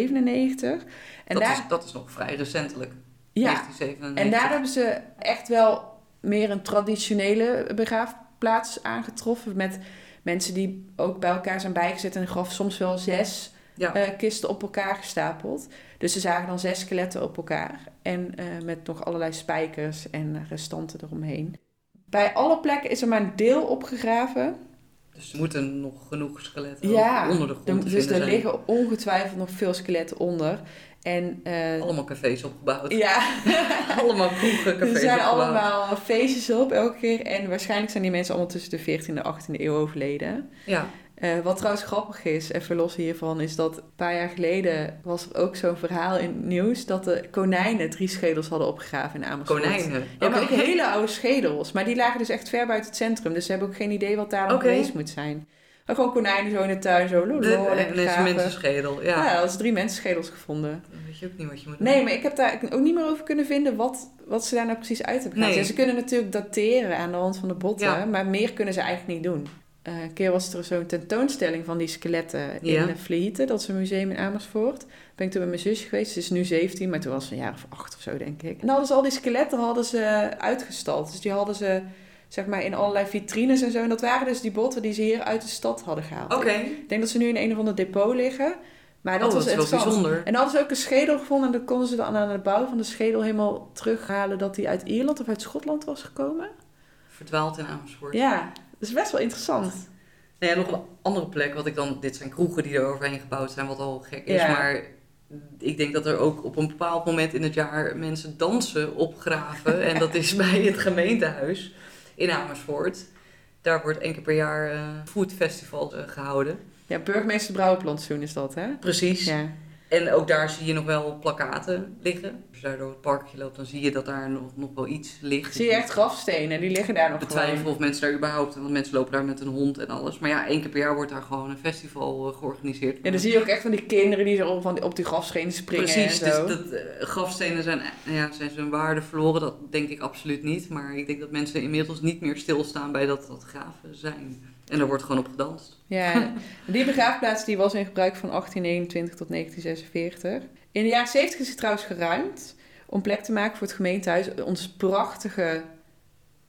Speaker 2: 1997. En
Speaker 1: dat,
Speaker 2: daar,
Speaker 1: is, dat is nog vrij recentelijk.
Speaker 2: ja,
Speaker 1: 1997.
Speaker 2: en daar hebben ze echt wel meer een traditionele begraafplaats aangetroffen. Met mensen die ook bij elkaar zijn bijgezet. En graf soms wel zes
Speaker 1: Ja.
Speaker 2: eh, kisten op elkaar gestapeld. Dus ze zagen dan zes skeletten op elkaar. En eh, met nog allerlei spijkers en restanten eromheen. Bij alle plekken is er maar een deel opgegraven.
Speaker 1: Dus er moeten nog genoeg skeletten
Speaker 2: Ja,
Speaker 1: onder de grond
Speaker 2: Er-
Speaker 1: te
Speaker 2: dus
Speaker 1: vinden
Speaker 2: er
Speaker 1: zijn.
Speaker 2: liggen ongetwijfeld nog veel skeletten onder. En eh,
Speaker 1: Allemaal cafés opgebouwd.
Speaker 2: ja,
Speaker 1: Allemaal kroegen, cafés
Speaker 2: er zijn
Speaker 1: opgebouwd.
Speaker 2: allemaal feestjes op elke keer. En waarschijnlijk zijn die mensen allemaal tussen de 14e en 18e eeuw overleden.
Speaker 1: Ja,
Speaker 2: Eh, wat trouwens grappig is, even los hiervan, is dat een paar jaar geleden was er ook zo'n verhaal in het nieuws dat de konijnen drie schedels hadden opgegraven in Amersfoort.
Speaker 1: konijnen.
Speaker 2: Ja, maar ook
Speaker 1: Oké.
Speaker 2: hele oude schedels. Maar die lagen dus echt ver buiten het centrum. Dus ze hebben ook geen idee wat daar nog
Speaker 1: Oké.
Speaker 2: geweest moet zijn. Maar gewoon konijnen zo in de tuin, zo lolo,
Speaker 1: De,
Speaker 2: lekker
Speaker 1: en dus is een
Speaker 2: graven.
Speaker 1: mensenschedel,
Speaker 2: Nou Ja,
Speaker 1: ja.
Speaker 2: dat is drie mensenschedels gevonden.
Speaker 1: Dan weet je ook niet wat je moet doen.
Speaker 2: Nee, maar ik heb daar ook niet meer over kunnen vinden wat, wat ze daar nou precies uit hebben gehaald.
Speaker 1: Nee.
Speaker 2: En ze kunnen natuurlijk dateren aan de hand van de botten,
Speaker 1: Ja.
Speaker 2: maar meer kunnen ze eigenlijk niet doen. Eh, een keer was er zo'n tentoonstelling van die skeletten in
Speaker 1: Ja.
Speaker 2: eh, Vlieten, dat is een museum in Amersfoort. Ben ik toen met mijn zusje geweest, ze is nu 17, maar toen was ze een jaar of acht of zo, denk ik. En dan hadden ze al die skeletten hadden ze uitgestald. Dus die hadden ze zeg maar in allerlei vitrines en zo. En dat waren dus die botten die ze hier uit de stad hadden gehaald.
Speaker 1: Oké,
Speaker 2: Ik denk dat ze nu in een of ander depot liggen. Maar
Speaker 1: Oh,
Speaker 2: dat was
Speaker 1: dat is wel
Speaker 2: interessant.
Speaker 1: bijzonder.
Speaker 2: En dan hadden ze ook een schedel gevonden en dan konden ze dan aan de bouw van de schedel helemaal terughalen dat die uit Ierland of uit Schotland was gekomen.
Speaker 1: Verdwaald in Amersfoort.
Speaker 2: Ja, dat is best wel interessant.
Speaker 1: Nee, en nog een andere plek, wat ik dan, dit zijn kroegen die er overheen gebouwd zijn, wat al gek is,
Speaker 2: Ja.
Speaker 1: maar ik denk dat er ook op een bepaald moment in het jaar mensen dansen opgraven. en dat is bij het gemeentehuis in Amersfoort. Daar wordt één keer per jaar eh food festival eh, gehouden.
Speaker 2: Ja, burgemeester Brouwenplantsoen is dat, hè?
Speaker 1: Precies.
Speaker 2: Ja.
Speaker 1: En ook daar zie je nog wel plakkaten liggen. Als je daar door het parkje loopt, dan zie je dat daar nog, nog wel iets ligt.
Speaker 2: Zie je echt grafstenen, die liggen daar nog
Speaker 1: betwijfel
Speaker 2: gewoon.
Speaker 1: of mensen daar überhaupt, want mensen lopen daar met een hond en alles. Maar ja, één keer per jaar wordt daar gewoon een festival eh, georganiseerd.
Speaker 2: En dan zie je ook echt van die kinderen die zo van die- op die grafstenen springen
Speaker 1: Precies,
Speaker 2: en zo.
Speaker 1: dus dat, eh, grafstenen zijn, eh, ja, zijn zijn waarde verloren, dat denk ik absoluut niet. Maar ik denk dat mensen inmiddels niet meer stilstaan bij dat dat graven zijn. En daar wordt gewoon op gedanst.
Speaker 2: Ja, die begraafplaats die was in gebruik van 1821 tot 1946. In de jaren 70 is het trouwens geruimd om plek te maken voor het gemeentehuis. Ons prachtige,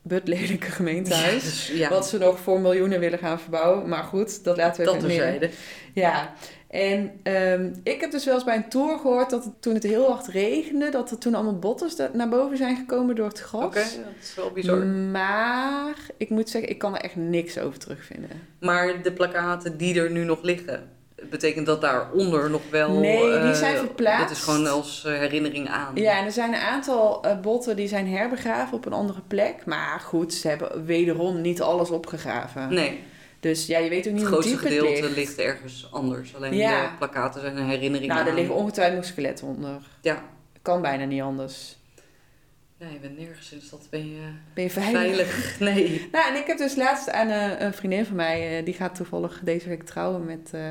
Speaker 2: but lelijke gemeentehuis.
Speaker 1: Dus ja,
Speaker 2: Wat ze nog voor miljoenen willen gaan verbouwen. Maar goed, dat laten we
Speaker 1: dat
Speaker 2: even in het midden.
Speaker 1: terzijde.
Speaker 2: Ja, en ehm, ik heb dus wel eens bij een tour gehoord dat het, toen het heel hard regende, dat er toen allemaal botters da- naar boven zijn gekomen door het gras.
Speaker 1: Oké, dat is wel bizar.
Speaker 2: Mm. Maar ik moet zeggen, ik kan er echt niks over terugvinden.
Speaker 1: Maar de plakkaten die er nu nog liggen, betekent dat daaronder nog wel...
Speaker 2: Nee, die
Speaker 1: eh,
Speaker 2: zijn verplaatst.
Speaker 1: Dat is gewoon als eh, herinnering aan.
Speaker 2: Ja, en er zijn een aantal eh, botten die zijn herbegraven op een andere plek. Maar goed, ze hebben wederom niet alles opgegraven.
Speaker 1: Nee,
Speaker 2: Dus ja, je weet ook
Speaker 1: het
Speaker 2: niet hoe
Speaker 1: grootste
Speaker 2: diep het
Speaker 1: gedeelte
Speaker 2: ligt.
Speaker 1: ligt. ergens anders. Alleen
Speaker 2: Ja.
Speaker 1: de plakkaten zijn een herinnering
Speaker 2: Nou,
Speaker 1: aan.
Speaker 2: er liggen ongetwijfeld nog skeletten onder.
Speaker 1: Ja.
Speaker 2: Kan bijna niet anders.
Speaker 1: Ja, je bent nergens in de stad, ben je
Speaker 2: Ben je veilig?
Speaker 1: veilig. Nee.
Speaker 2: Nou, en ik heb dus laatst aan eh, een vriendin van mij, eh, die gaat toevallig deze week trouwen met, eh,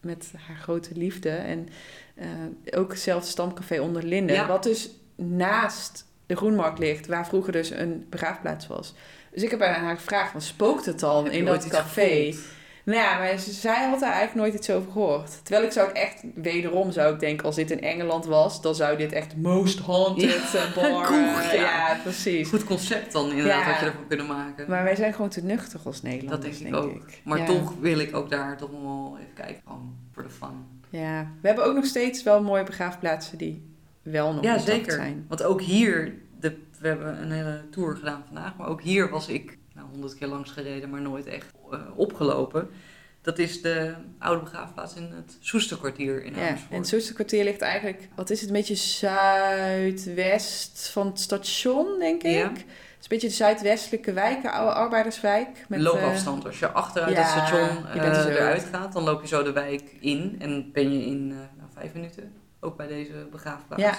Speaker 2: met haar grote liefde. En eh, ook zelf Stamcafé onder Linden,
Speaker 1: Ja.
Speaker 2: wat dus naast de Groenmarkt ligt, waar vroeger dus een begraafplaats was. Dus ik heb aan haar gevraagd, van, spookt het dan
Speaker 1: Heb je
Speaker 2: in
Speaker 1: ooit
Speaker 2: dat
Speaker 1: iets
Speaker 2: café?
Speaker 1: gevoeld?
Speaker 2: Nou ja, maar ze- zij had daar eigenlijk nooit iets over gehoord. Terwijl ik zou het echt, wederom zou ik denken, als dit in Engeland was, dan zou dit echt most haunted eh, bar...
Speaker 1: kroeg,
Speaker 2: eh,
Speaker 1: ja.
Speaker 2: ja, precies.
Speaker 1: Goed concept dan inderdaad,
Speaker 2: Ja.
Speaker 1: had je ervan kunnen maken.
Speaker 2: Maar wij zijn gewoon te nuchter als
Speaker 1: dat denk
Speaker 2: Nederlanders,
Speaker 1: ik ook. Maar
Speaker 2: Ja.
Speaker 1: toch wil ik ook daar toch nog wel even kijken, gewoon voor de fun.
Speaker 2: Ja, we hebben ook nog steeds wel mooie begraafplaatsen die wel nog
Speaker 1: ja,
Speaker 2: intact
Speaker 1: zeker.
Speaker 2: zijn.
Speaker 1: Want ook hier de, we hebben een hele tour gedaan vandaag, maar ook hier was ik nou, honderd keer langs gereden, maar nooit echt eh, opgelopen. Dat is de oude begraafplaats in het Soesterkwartier in
Speaker 2: Ja, en
Speaker 1: Amersfoort.
Speaker 2: het Soesterkwartier ligt eigenlijk, wat is het, een beetje zuidwest van het station, denk ik.
Speaker 1: Ja.
Speaker 2: Het is een beetje de zuidwestelijke wijk, de oude arbeiderswijk. Met, eh,
Speaker 1: Loopafstand. Als je achteruit
Speaker 2: ja,
Speaker 1: het station
Speaker 2: je bent dus
Speaker 1: eh,
Speaker 2: er zo
Speaker 1: eruit gaat, dan loop je zo de wijk in en ben je in eh, nou, vijf minuten ook bij deze begraafplaats.
Speaker 2: Ja.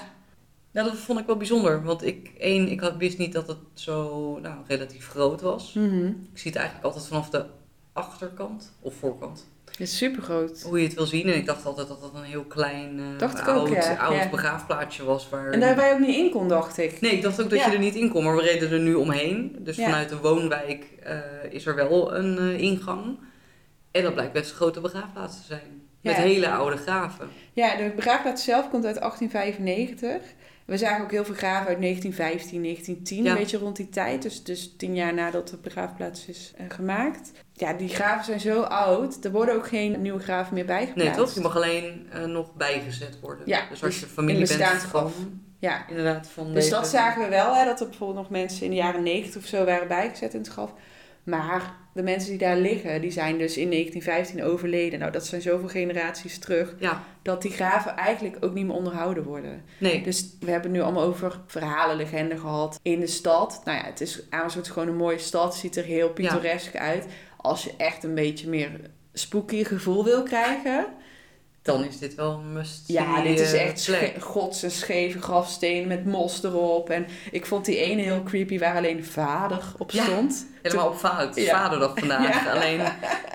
Speaker 1: Nou, dat vond ik wel bijzonder, want ik, één, ik had, wist niet dat het zo nou, relatief groot was.
Speaker 2: eh, mhm.
Speaker 1: Ik zie het eigenlijk altijd vanaf de achterkant of voorkant,
Speaker 2: Het is super groot.
Speaker 1: hoe je het wil zien. En ik dacht altijd dat dat een heel klein, eh,
Speaker 2: Dacht ik ook,
Speaker 1: oud,
Speaker 2: ja.
Speaker 1: oud
Speaker 2: Ja.
Speaker 1: begraafplaatsje was. Waar
Speaker 2: En daar waar je ook niet in kon, dacht ik.
Speaker 1: Nee, ik dacht ook dat
Speaker 2: Ja.
Speaker 1: je er niet in kon, maar we reden er nu omheen. Dus
Speaker 2: Ja.
Speaker 1: vanuit de woonwijk eh, is er wel een eh, ingang. En dat blijkt best een grote begraafplaats te zijn. Met
Speaker 2: Ja.
Speaker 1: hele oude graven.
Speaker 2: Ja, de begraafplaats zelf komt uit 1895. We zagen ook heel veel graven uit 1915, 1910,
Speaker 1: Ja.
Speaker 2: een beetje rond die tijd. Dus, dus tien jaar nadat de begraafplaats is eh, gemaakt. Ja, die graven zijn zo oud. Er worden ook geen nieuwe graven meer
Speaker 1: Nee,
Speaker 2: bijgeplaatst.
Speaker 1: toch? Je mag alleen eh, nog bijgezet worden.
Speaker 2: Ja,
Speaker 1: dus als
Speaker 2: dus
Speaker 1: je familie
Speaker 2: in
Speaker 1: bent
Speaker 2: bestaansgraf.
Speaker 1: van,
Speaker 2: Ja,
Speaker 1: inderdaad, van
Speaker 2: dus
Speaker 1: deze-
Speaker 2: dat zagen we wel. Hè, dat er bijvoorbeeld nog mensen in de jaren 90 of zo waren bijgezet in het graf. Maar de mensen die daar liggen, die zijn dus in 1915 overleden. Nou, dat zijn zoveel generaties terug.
Speaker 1: Ja,
Speaker 2: Dat die graven eigenlijk ook niet meer onderhouden worden.
Speaker 1: nee.
Speaker 2: Dus we hebben het nu allemaal over verhalen, legenden gehad in de stad. Nou ja, het is Amersfoort is gewoon een mooie stad, ziet er heel pittoresk uit. Als je echt een beetje meer spooky gevoel wil krijgen.
Speaker 1: Dan is dit wel een must
Speaker 2: Ja, dit is echt
Speaker 1: slecht.
Speaker 2: sche- gods en scheve grafstenen met mos erop. En ik vond die ene heel creepy waar alleen vader op
Speaker 1: Ja.
Speaker 2: stond.
Speaker 1: Helemaal op vader,
Speaker 2: Ja.
Speaker 1: vaderdag vandaag.
Speaker 2: Ja.
Speaker 1: Alleen,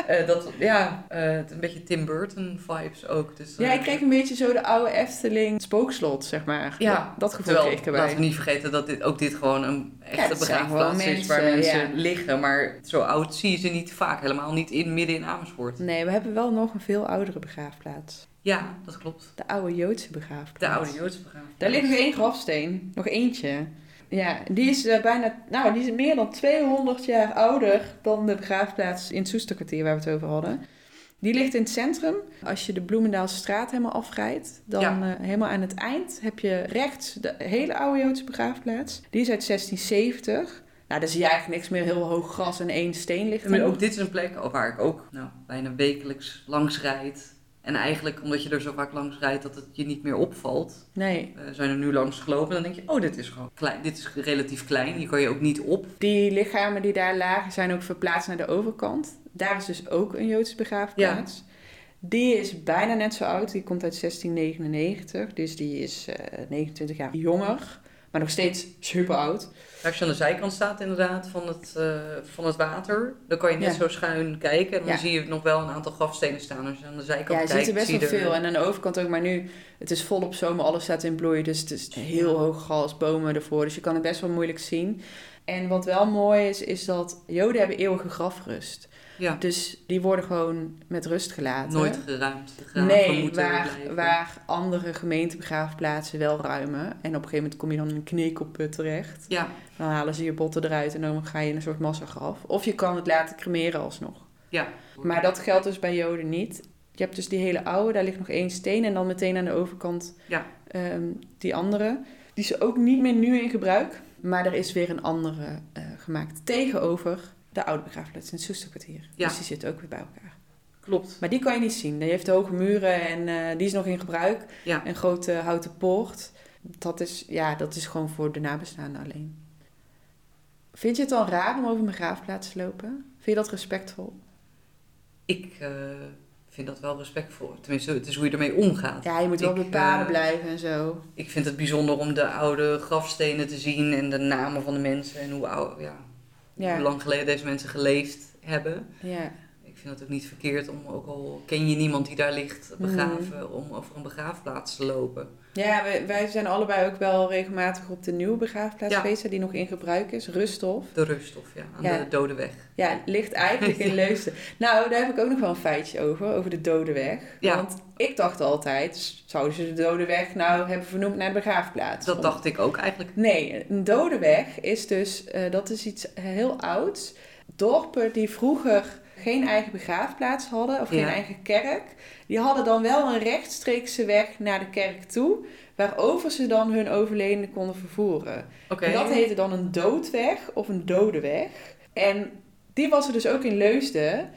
Speaker 1: eh, dat, ja, eh, het een beetje Tim Burton vibes ook. Dus,
Speaker 2: Ja,
Speaker 1: eh,
Speaker 2: ik kreeg een beetje zo de oude Efteling spookslot, zeg maar.
Speaker 1: Ja.
Speaker 2: Dat- dat gevoel
Speaker 1: Terwijl,
Speaker 2: kreeg ik
Speaker 1: laten
Speaker 2: erbij.
Speaker 1: we niet vergeten dat dit ook dit gewoon een
Speaker 2: Ja,
Speaker 1: echte
Speaker 2: het zijn
Speaker 1: begraafplaats
Speaker 2: gewoon
Speaker 1: is waar
Speaker 2: mensen,
Speaker 1: mensen liggen. Maar zo oud zie je ze niet vaak, helemaal niet in midden in Amersfoort.
Speaker 2: Nee, we hebben wel nog een veel oudere begraafplaats.
Speaker 1: Ja, dat klopt.
Speaker 2: De oude Joodse begraafplaats.
Speaker 1: De oude Joodse begraafplaats.
Speaker 2: Daar ligt nog één grafsteen. Nog eentje. Ja, die is eh, bijna, nou, die is meer dan 200 jaar ouder dan de begraafplaats in het Soesterkwartier waar we het over hadden. Die ligt in het centrum. Als je de Bloemendaalse straat helemaal afrijdt, dan
Speaker 1: Ja.
Speaker 2: eh, helemaal aan het eind heb je rechts de hele oude Joodse begraafplaats. Die is uit 1670. Nou, daar zie je eigenlijk niks meer. Heel hoog gras en één steen ligt
Speaker 1: Ik bedoel,
Speaker 2: er
Speaker 1: ook dit is een plek waar ik ook nou, bijna wekelijks langs rijd. En eigenlijk, omdat je er zo vaak langs rijdt dat het je niet meer opvalt,
Speaker 2: Nee,
Speaker 1: eh, zijn er nu langs gelopen. En dan denk je, oh, dit is gewoon klein. Dit is relatief klein. Hier kan je ook niet op.
Speaker 2: die lichamen die daar lagen zijn ook verplaatst naar de overkant. Daar is dus ook een Joodse begraafplaats. Die is bijna net zo oud. Die komt uit 1699. Dus die is eh, 29 jaar jonger. Maar nog steeds super oud.
Speaker 1: Als je aan de zijkant staat inderdaad van het, eh, van het water, dan kan je net
Speaker 2: Ja.
Speaker 1: zo schuin kijken. En dan
Speaker 2: Ja.
Speaker 1: zie je nog wel een aantal grafstenen staan. Als je aan de
Speaker 2: Ja,
Speaker 1: zijkant
Speaker 2: je
Speaker 1: kijkt,
Speaker 2: ziet er best
Speaker 1: zie je
Speaker 2: wel veel. En aan de overkant ook. Maar nu, het is volop zomer. Alles staat in bloei. Dus het is heel hoog gras, bomen ervoor. Dus je kan het best wel moeilijk zien. En wat wel mooi is, is dat Joden hebben eeuwige grafrust.
Speaker 1: Ja,
Speaker 2: Dus die worden gewoon met rust gelaten.
Speaker 1: nooit geruimd. De graven
Speaker 2: Nee,
Speaker 1: moeten
Speaker 2: waar,
Speaker 1: blijven.
Speaker 2: waar andere gemeentebegraafplaatsen wel ruimen. En op een gegeven moment kom je dan in een knekelput terecht.
Speaker 1: Ja,
Speaker 2: Dan halen ze je botten eruit en dan ga je in een soort massagraf. Of je kan het laten cremeren alsnog.
Speaker 1: ja.
Speaker 2: Maar dat geldt dus bij Joden niet. Je hebt dus die hele oude, daar ligt nog één steen. En dan meteen aan de overkant
Speaker 1: Ja.
Speaker 2: ehm, die andere. Die is ook niet meer nu in gebruik. Maar er is weer een andere eh, gemaakt tegenover de oude begraafplaats in het Soesterkwartier.
Speaker 1: Ja.
Speaker 2: Dus die zitten ook weer bij elkaar.
Speaker 1: klopt.
Speaker 2: Maar die kan je niet zien. Die heeft hoge muren en eh, die is nog in gebruik.
Speaker 1: Ja.
Speaker 2: Een grote houten poort. Dat is, ja, dat is gewoon voor de nabestaanden alleen. Vind je het dan raar om over mijn graafplaats te lopen? Vind je dat respectvol?
Speaker 1: Ik eh, vind dat wel respectvol. Tenminste, het is hoe je ermee omgaat.
Speaker 2: Ja, je moet wel
Speaker 1: Ik,
Speaker 2: op de paden
Speaker 1: eh,
Speaker 2: blijven en zo.
Speaker 1: Ik vind het bijzonder om de oude grafstenen te zien en de namen van de mensen en hoe, oud, ja,
Speaker 2: Ja,
Speaker 1: hoe lang geleden deze mensen geleefd hebben.
Speaker 2: ja.
Speaker 1: Ik vind het ook niet verkeerd om, ook al ken je niemand die daar
Speaker 2: Mhm.
Speaker 1: ligt begraven, om over een begraafplaats te lopen.
Speaker 2: ja wij, wij zijn allebei ook wel regelmatig op de nieuwe begraafplaats
Speaker 1: Ja.
Speaker 2: geweest, die nog in gebruik is, Rusthof.
Speaker 1: De rusthof, ja, aan
Speaker 2: Ja.
Speaker 1: de dode weg.
Speaker 2: Ja, ligt eigenlijk in Leusden. Nou, daar heb ik ook nog wel een feitje over, over de Dodenweg.
Speaker 1: Ja.
Speaker 2: Want ik dacht altijd, dus zouden ze de Dodenweg nou hebben vernoemd naar de begraafplaats?
Speaker 1: Dat dacht ik ook eigenlijk.
Speaker 2: Nee, een Dodenweg is dus, eh, dat is iets heel ouds. Dorpen die vroeger geen eigen begraafplaats hadden of geen
Speaker 1: Ja.
Speaker 2: eigen kerk, die hadden dan wel een rechtstreekse weg naar de kerk toe, waarover ze dan hun overledenen konden vervoeren.
Speaker 1: Oké.
Speaker 2: En Dat heette dan een doodweg of een dodenweg. En die was er dus ook in Leusden,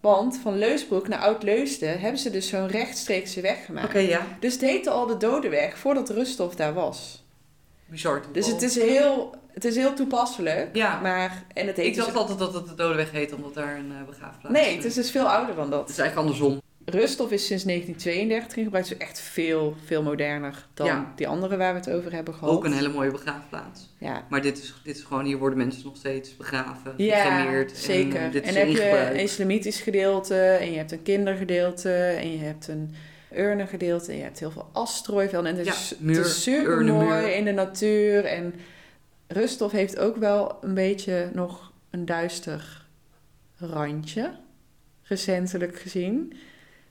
Speaker 2: want van Leusbroek naar Oud-Leusden hebben ze dus zo'n rechtstreekse weg
Speaker 1: Oké,
Speaker 2: gemaakt.
Speaker 1: ja.
Speaker 2: Dus het heette al de dodenweg voordat Rusthof daar was.
Speaker 1: Bizar. toch
Speaker 2: Dus
Speaker 1: wel?
Speaker 2: het is heel, het is heel toepasselijk.
Speaker 1: Ja.
Speaker 2: Maar, en het heet
Speaker 1: Ik
Speaker 2: dus-
Speaker 1: dacht altijd dat het de Dode Weg heet, omdat daar een eh, begraafplaats
Speaker 2: Nee, het is dus veel ouder dan
Speaker 1: Het
Speaker 2: dat.
Speaker 1: is eigenlijk andersom.
Speaker 2: Rusthof is sinds 1932 in gebruik, dus echt veel, veel moderner dan
Speaker 1: Ja.
Speaker 2: die andere waar we het over hebben gehad.
Speaker 1: Ook een hele mooie begraafplaats.
Speaker 2: Ja,
Speaker 1: Maar dit is, dit is gewoon, hier worden mensen nog steeds begraven,
Speaker 2: ja
Speaker 1: gecremeerd.
Speaker 2: zeker.
Speaker 1: En, eh, dit
Speaker 2: en
Speaker 1: is
Speaker 2: heb
Speaker 1: in
Speaker 2: je
Speaker 1: gebruik.
Speaker 2: een islamitisch gedeelte, en je hebt een kindergedeelte, en je hebt een urnengedeelte, en je hebt heel veel astrooiveld. En het is,
Speaker 1: Ja,
Speaker 2: het
Speaker 1: muur,
Speaker 2: is super mooi
Speaker 1: urnenmuur.
Speaker 2: in de natuur. En Rusthof heeft ook wel een beetje nog een duister randje, recentelijk gezien.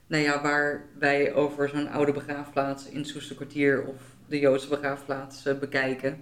Speaker 1: Nou ja, waar wij over zo'n oude begraafplaats in het Soesterkwartier of de Joodse begraafplaats eh, bekijken.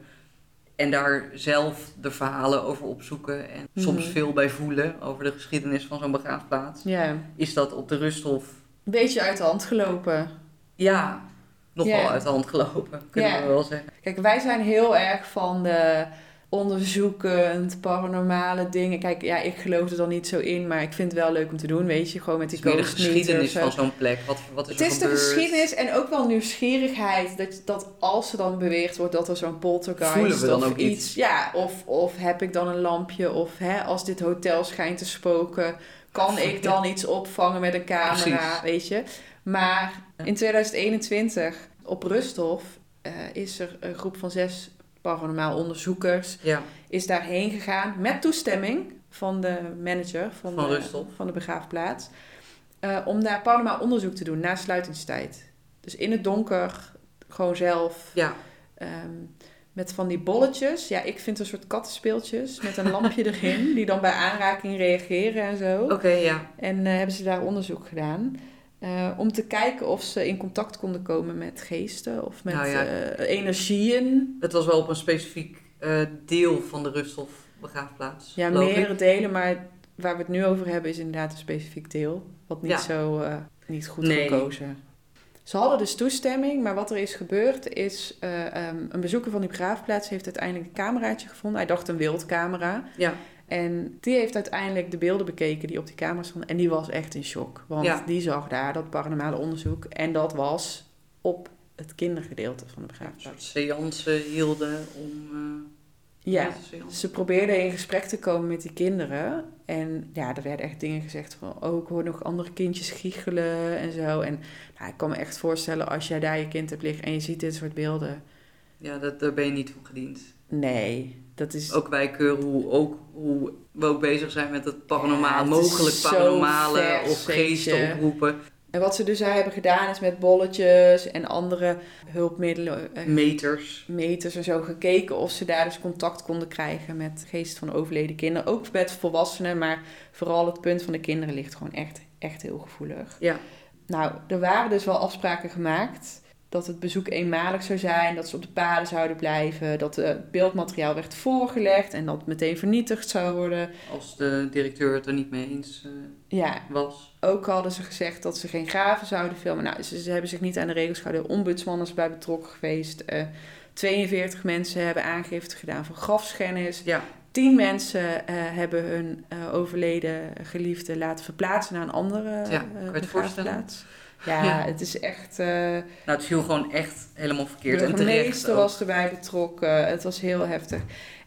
Speaker 1: En daar zelf de verhalen over opzoeken en soms
Speaker 2: Mhm.
Speaker 1: veel bij voelen over de geschiedenis van zo'n begraafplaats.
Speaker 2: Ja, een
Speaker 1: Is dat op de Rusthof
Speaker 2: beetje uit de hand gelopen.
Speaker 1: ja, nog
Speaker 2: Ja.
Speaker 1: wel uit de hand gelopen, kunnen
Speaker 2: Ja.
Speaker 1: we wel zeggen.
Speaker 2: Kijk, wij zijn heel erg van de onderzoekend, paranormale dingen. Kijk, ja, ik geloof er dan niet zo in, maar ik vind het wel leuk om te doen, weet je. Gewoon met die
Speaker 1: Het is meer de
Speaker 2: ghost meter of
Speaker 1: geschiedenis
Speaker 2: zo.
Speaker 1: van zo'n plek. Wat, wat is
Speaker 2: Het
Speaker 1: er
Speaker 2: is de
Speaker 1: gebeurd?
Speaker 2: geschiedenis en ook wel nieuwsgierigheid. Dat, dat als er dan beweerd wordt dat er zo'n poltergeist
Speaker 1: Voelen we dan
Speaker 2: of
Speaker 1: ook
Speaker 2: iets.
Speaker 1: iets?
Speaker 2: Ja, of, of heb ik dan een lampje? Of hè, als dit hotel schijnt te spoken, kan ik dan iets opvangen met een camera?
Speaker 1: Precies.
Speaker 2: Weet je. Maar in 2021 op Rusthof eh, is er een groep van zes paranormaal onderzoekers
Speaker 1: Ja,
Speaker 2: is daarheen gegaan met toestemming van de manager van,
Speaker 1: Van
Speaker 2: de,
Speaker 1: Rusthof.
Speaker 2: van de begraafplaats. eh, om daar paranormaal onderzoek te doen na sluitingstijd. Dus in het donker, gewoon zelf.
Speaker 1: ja.
Speaker 2: ehm, met van die bolletjes. Ja, ik vind een soort kattenspeeltjes met een lampje erin. Die dan bij aanraking reageren en zo.
Speaker 1: oké, ja.
Speaker 2: En eh, hebben ze daar onderzoek gedaan. eh, om te kijken of ze in contact konden komen met geesten of met
Speaker 1: Nou ja.
Speaker 2: eh, energieën.
Speaker 1: Het was wel op een specifiek eh, deel van de Rusthof begraafplaats.
Speaker 2: Ja,
Speaker 1: geloof ik.
Speaker 2: meerdere delen, maar waar we het nu over hebben is inderdaad een specifiek deel. Wat niet
Speaker 1: Ja.
Speaker 2: zo eh, niet goed
Speaker 1: Nee.
Speaker 2: gekozen. Ze hadden dus toestemming, maar wat er is gebeurd is... eh, ehm, een bezoeker van die begraafplaats heeft uiteindelijk een cameraatje gevonden. Hij dacht een wildcamera.
Speaker 1: Ja.
Speaker 2: En die heeft uiteindelijk de beelden bekeken die op die camera stonden. En die was echt in shock. Want
Speaker 1: Ja.
Speaker 2: die zag daar dat paranormale onderzoek. En dat was op het kindergedeelte van de
Speaker 1: Een
Speaker 2: begraafplaats.
Speaker 1: soort seance hielden om... eh,
Speaker 2: Ja.
Speaker 1: te seance.
Speaker 2: Dus Ze probeerden in gesprek te komen met die kinderen. En ja, er werden echt dingen gezegd van... oh, ik hoor nog andere kindjes giechelen en zo. En nou, ik kan me echt voorstellen als jij daar je kind hebt liggen... en je ziet dit soort beelden.
Speaker 1: Ja, dat, daar ben je niet van gediend.
Speaker 2: Nee, dat is...
Speaker 1: Ook wij keuren hoe, ook, hoe we ook bezig zijn met het paranormaal,
Speaker 2: Ja, het is
Speaker 1: mogelijk
Speaker 2: zo
Speaker 1: paranormale
Speaker 2: vers,
Speaker 1: of
Speaker 2: weet je.
Speaker 1: geesten oproepen.
Speaker 2: En wat ze dus daar hebben gedaan is met bolletjes en andere hulpmiddelen...
Speaker 1: Hmm.
Speaker 2: eh,
Speaker 1: Meters.
Speaker 2: meters en zo gekeken of ze daar dus contact konden krijgen met geesten van overleden kinderen. Ook met volwassenen, maar vooral het punt van de kinderen ligt gewoon echt, echt heel gevoelig.
Speaker 1: Ja.
Speaker 2: Nou, er waren dus wel afspraken gemaakt dat het bezoek eenmalig zou zijn, dat ze op de paden zouden blijven, dat het beeldmateriaal werd voorgelegd en dat het meteen vernietigd zou worden.
Speaker 1: Als de directeur het er niet mee eens eh,
Speaker 2: Ja,
Speaker 1: was.
Speaker 2: ook hadden ze gezegd dat ze geen graven zouden filmen. Nou, ze, ze hebben zich niet aan de regels gehouden. De ombudsman is bij betrokken geweest. Eh, 42 mensen hebben aangifte gedaan van grafschennis.
Speaker 1: Ja.
Speaker 2: 10 mensen eh, hebben hun eh, overleden geliefde laten verplaatsen naar een andere eh,
Speaker 1: kan je het voorstellen?
Speaker 2: begraafplaats. Ja,
Speaker 1: Ja.
Speaker 2: het is echt... eh,
Speaker 1: Nou, het viel gewoon echt helemaal
Speaker 2: de
Speaker 1: verkeerd. En terecht.
Speaker 2: burgemeester
Speaker 1: ook.
Speaker 2: was erbij betrokken. Het was heel heftig.